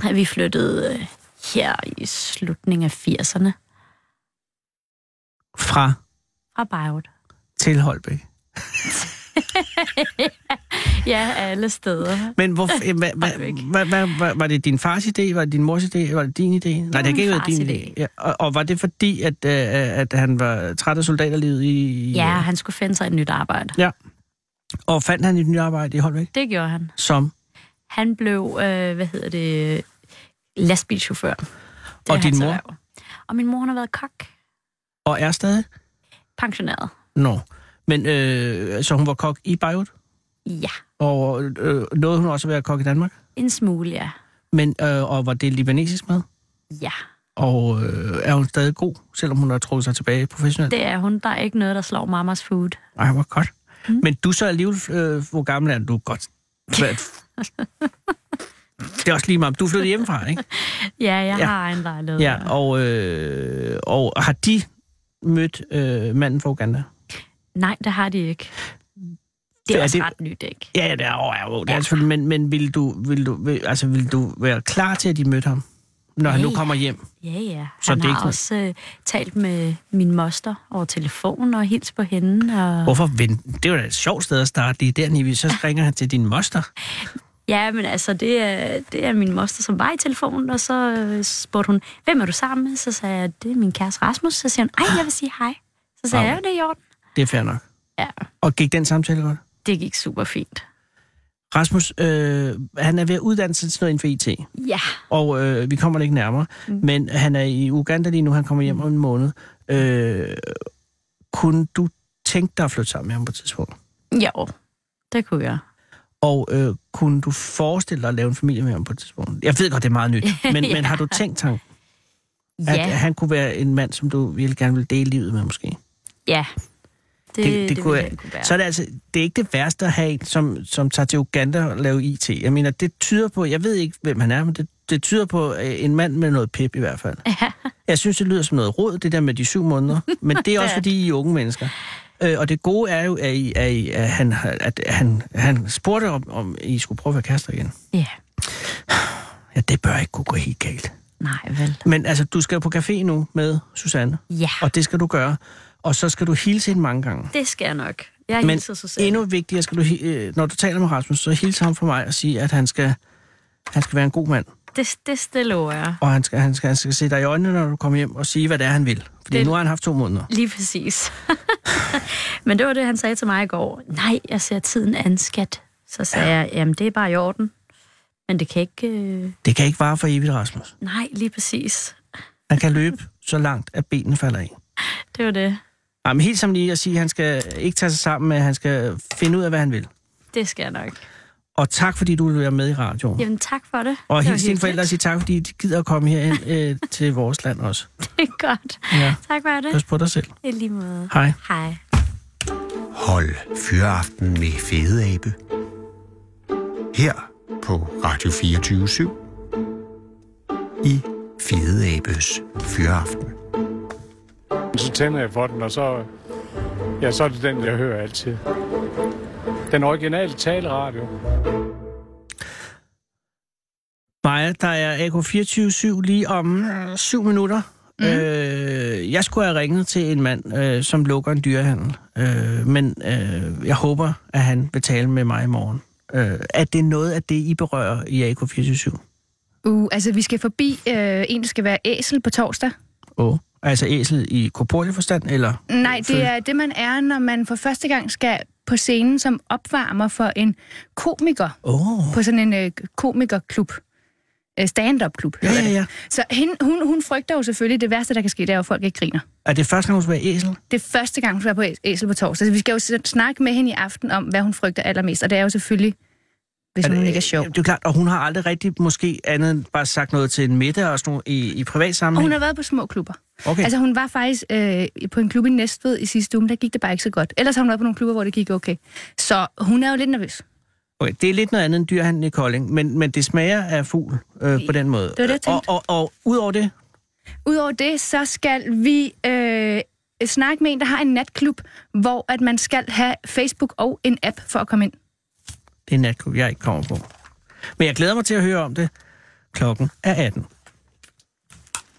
Speaker 8: at vi flyttede øh, her i slutningen af 80'erne
Speaker 5: Fra
Speaker 8: fra Beirut.
Speaker 5: til Holbæk.
Speaker 8: Ja, alle steder.
Speaker 5: Men hvor, eh, hva, hva,
Speaker 8: Holbæk.
Speaker 5: hva, hva, hva, var det din fars idé? Var det din mors idé? Var det din idé? Det Nej, det
Speaker 8: min
Speaker 5: kan ikke være
Speaker 8: fars
Speaker 5: din
Speaker 8: idé.
Speaker 5: idé. Ja, og, og var det fordi, at, øh, at han var træt af soldaterlivet i...
Speaker 8: Ja, han skulle finde sig et nyt arbejde.
Speaker 5: ja. Og fandt han et nyt arbejde i Holbæk?
Speaker 8: Det gjorde han.
Speaker 5: Som?
Speaker 8: Han blev, øh, hvad hedder det, lastbilchauffør. Det
Speaker 5: Og
Speaker 8: er
Speaker 5: din
Speaker 8: hans
Speaker 5: mor?
Speaker 8: erhverv. Og min mor, hun har været kok.
Speaker 5: Og er stadig?
Speaker 8: Pensioneret.
Speaker 5: Nå. Men øh, så hun var kok i Beirut?
Speaker 8: Ja,
Speaker 5: Og øh, nåede hun også at være kok i Danmark?
Speaker 8: en smule, ja.
Speaker 5: Men, øh, og var det libanesisk mad?
Speaker 8: Ja,
Speaker 5: Og øh, er hun stadig god, selvom hun har trukket sig tilbage professionelt?
Speaker 8: det er hun. Der er ikke noget, der slår mammas food.
Speaker 5: Ej, hvor godt. Mm. Men du så alligevel, øh, hvor gammel er du? Du er godt. Hvad? det er også lige meget. Du er flyttet hjemmefra, ikke?
Speaker 8: Ja, jeg
Speaker 5: Ja.
Speaker 8: ja. har en lejlighed.
Speaker 5: Ja, og, øh, og har de mødt øh, manden fra Uganda?
Speaker 8: Nej, det har de ikke. Det er,
Speaker 5: Er
Speaker 8: er også
Speaker 5: det-
Speaker 8: det... ret nyt, ikke?
Speaker 5: Ja, ja, det er, oh, ja, oh, det er selvfølgelig, men, men vil, du, vil, du, vil, altså, vil du være klar til, at de mødte ham, når han nu
Speaker 8: Ja,
Speaker 5: kommer hjem?
Speaker 8: Ja, ja.
Speaker 5: Så
Speaker 8: Han
Speaker 5: det er
Speaker 8: har
Speaker 5: ikke noget-
Speaker 8: også øh, talt med min moster over telefon og hils på hende. Og...
Speaker 5: Hvorfor vente? Det er jo da et sjovt sted at starte lige der, Nivi. Så ringer han til din moster.
Speaker 8: Ja, men altså, det er, det er min moster, som var i telefonen, og så øh, spurgte hun, hvem er du sammen med? Så sagde jeg, det er min kæreste Rasmus. Så siger hun, ej, jeg vil sige hej. Så sagde
Speaker 5: Au.
Speaker 8: jeg, "Ja, det er i orden.
Speaker 5: Det er fair nok.
Speaker 8: Ja,
Speaker 5: Og gik den samtale godt?
Speaker 8: det gik super fint.
Speaker 5: Rasmus, øh, han er ved at uddanne sig til noget inden for IT.
Speaker 8: Ja,
Speaker 5: og øh, vi kommer det ikke nærmere. Mm. Men han er i Uganda lige nu, han kommer hjem om en måned. Øh, kunne du tænke dig at flytte sammen med ham på et tidspunkt?
Speaker 8: jo, det kunne jeg.
Speaker 5: Og øh, kunne du forestille dig at lave en familie med ham på et tidspunkt? Jeg ved godt, det er meget nyt, men, ja. men har du tænkt tanken, at
Speaker 8: Ja,
Speaker 5: han kunne være en mand, som du ville gerne ville dele livet med måske?
Speaker 8: ja. Det, det, det,
Speaker 5: kunne
Speaker 8: kunne
Speaker 5: jeg-
Speaker 8: jeg. Kunne være.
Speaker 5: Så er det altså, det er ikke det værste at have en, som, som tager til Uganda og laver IT. Jeg mener, det tyder på, jeg ved ikke, hvem han er, men det, det tyder på øh, en mand med noget pip i hvert fald.
Speaker 8: Ja.
Speaker 5: Jeg synes, det lyder som noget råd, det der med de syv måneder, men det er også fordi, I er unge mennesker. Øh, og det gode er jo, at, I, at, I, at, han, har- at han, han spurgte om, om I skulle prøve at være kærester igen.
Speaker 8: Ja,
Speaker 5: Ja, det bør ikke kunne gå helt galt.
Speaker 8: nej vel.
Speaker 5: Men altså, du skal på café nu med Susanne,
Speaker 8: Ja,
Speaker 5: og det skal du gøre. Og så skal du hilse hende mange gange.
Speaker 8: det skal jeg nok. Jeg
Speaker 5: Men
Speaker 8: hilser Susanne.
Speaker 5: endnu vigtigere skal du, hi- øh, når du taler med Rasmus, så hilse ham for mig og sige, at han skal, han skal være en god mand.
Speaker 8: Det, det, det lover jeg.
Speaker 5: Og han skal, han, skal, han skal se dig i øjnene, når du kommer hjem, og sige, hvad det er, han vil. Fordi det...
Speaker 8: Det-
Speaker 5: nu har han haft to måneder.
Speaker 8: Lige præcis. Men det var det, han sagde til mig i går. Nej, jeg ser tiden an, skat. Så sagde ja. jeg, jamen det er bare i orden. Men det kan ikke... Øh...
Speaker 5: Det kan ikke vare for evigt, Rasmus.
Speaker 8: Nej, lige præcis.
Speaker 5: Han kan løbe så langt, at benene falder i.
Speaker 8: Det var det.
Speaker 5: Ej, men helt som lige at sige, at han skal ikke tage sig sammen med, at han skal finde ud af, hvad han vil.
Speaker 8: Det skal jeg nok.
Speaker 5: Og tak, fordi du vil være med i radioen.
Speaker 8: Jamen tak for det.
Speaker 5: og
Speaker 8: Det var
Speaker 5: helt dine
Speaker 8: hyggeligt.
Speaker 5: forældre og sige tak, fordi de gider at komme herind øh, til vores land også.
Speaker 8: Det er godt.
Speaker 5: Ja.
Speaker 8: Tak for det.
Speaker 5: Pas på dig selv.
Speaker 8: I lige måde.
Speaker 5: Hej.
Speaker 8: Hej.
Speaker 3: Hold Fyraften med Fede Abe. Her på Radio 24 i Fede Abes Fyraften.
Speaker 9: Så tænder jeg for den, og så, ja, så er det den, jeg hører altid. Den originale taleradio.
Speaker 5: Maja, der er AK247 lige om øh, syv minutter.
Speaker 10: Mhm.
Speaker 5: Mm. Øh, jeg skulle have ringet til en mand, øh, som lukker en dyrehandel. Øh, men øh, jeg håber, at han vil tale med mig i morgen. Øh, er det noget af det, I berører i AK247?
Speaker 10: Uh, altså, vi skal forbi øh, en, der skal være æsel på torsdag.
Speaker 5: Åh. Altså æsel i korporlig forstand, eller?
Speaker 10: Nej,
Speaker 5: Føl-
Speaker 10: det er det, man er, når man for første gang skal på scenen som opvarmer for en komiker
Speaker 5: Åh. Oh.
Speaker 10: på sådan en øh, komikerklub. Øh, Stand-up-klub.
Speaker 5: Ja,
Speaker 10: hedder
Speaker 5: ja,
Speaker 10: det.
Speaker 5: ja.
Speaker 10: Så hende, hun, hun frygter jo selvfølgelig, det værste, der kan ske, det er, jo, at folk ikke griner.
Speaker 5: Er det første gang, hun skal være æsel?
Speaker 10: Det er første gang, hun er på æ- æsel på torsdag. Så vi skal jo s- snakke med hende i aften om, hvad hun frygter allermest. Og det er jo selvfølgelig, hvis
Speaker 5: Er det-
Speaker 10: hun ikke er sjov.
Speaker 5: Det er jo klart, og hun har aldrig rigtig måske andet end bare sagt noget til en middag og sådan noget i, i privat
Speaker 10: Og
Speaker 5: sammenhæng.
Speaker 10: hun har været på små klubber.
Speaker 5: Okay.
Speaker 10: Altså hun var faktisk øh, på en klub i Næstved i sidste uge, men der gik det bare ikke så godt. Ellers har hun været på nogle klubber, hvor det gik okay. Så hun er jo lidt nervøs.
Speaker 5: Okay, det er lidt noget andet end dyrhandel i Kolding, men, men det smager af fugl øh, på den måde.
Speaker 10: det, jeg tænkte.
Speaker 5: og, og, og udover det,
Speaker 10: Udover det, så skal vi øh, snakke med en, der har en natklub, hvor at man skal have Facebook og en app for at komme ind.
Speaker 5: det er en natklub, jeg ikke kommer på. Men jeg glæder mig til at høre om det. Klokken er 18.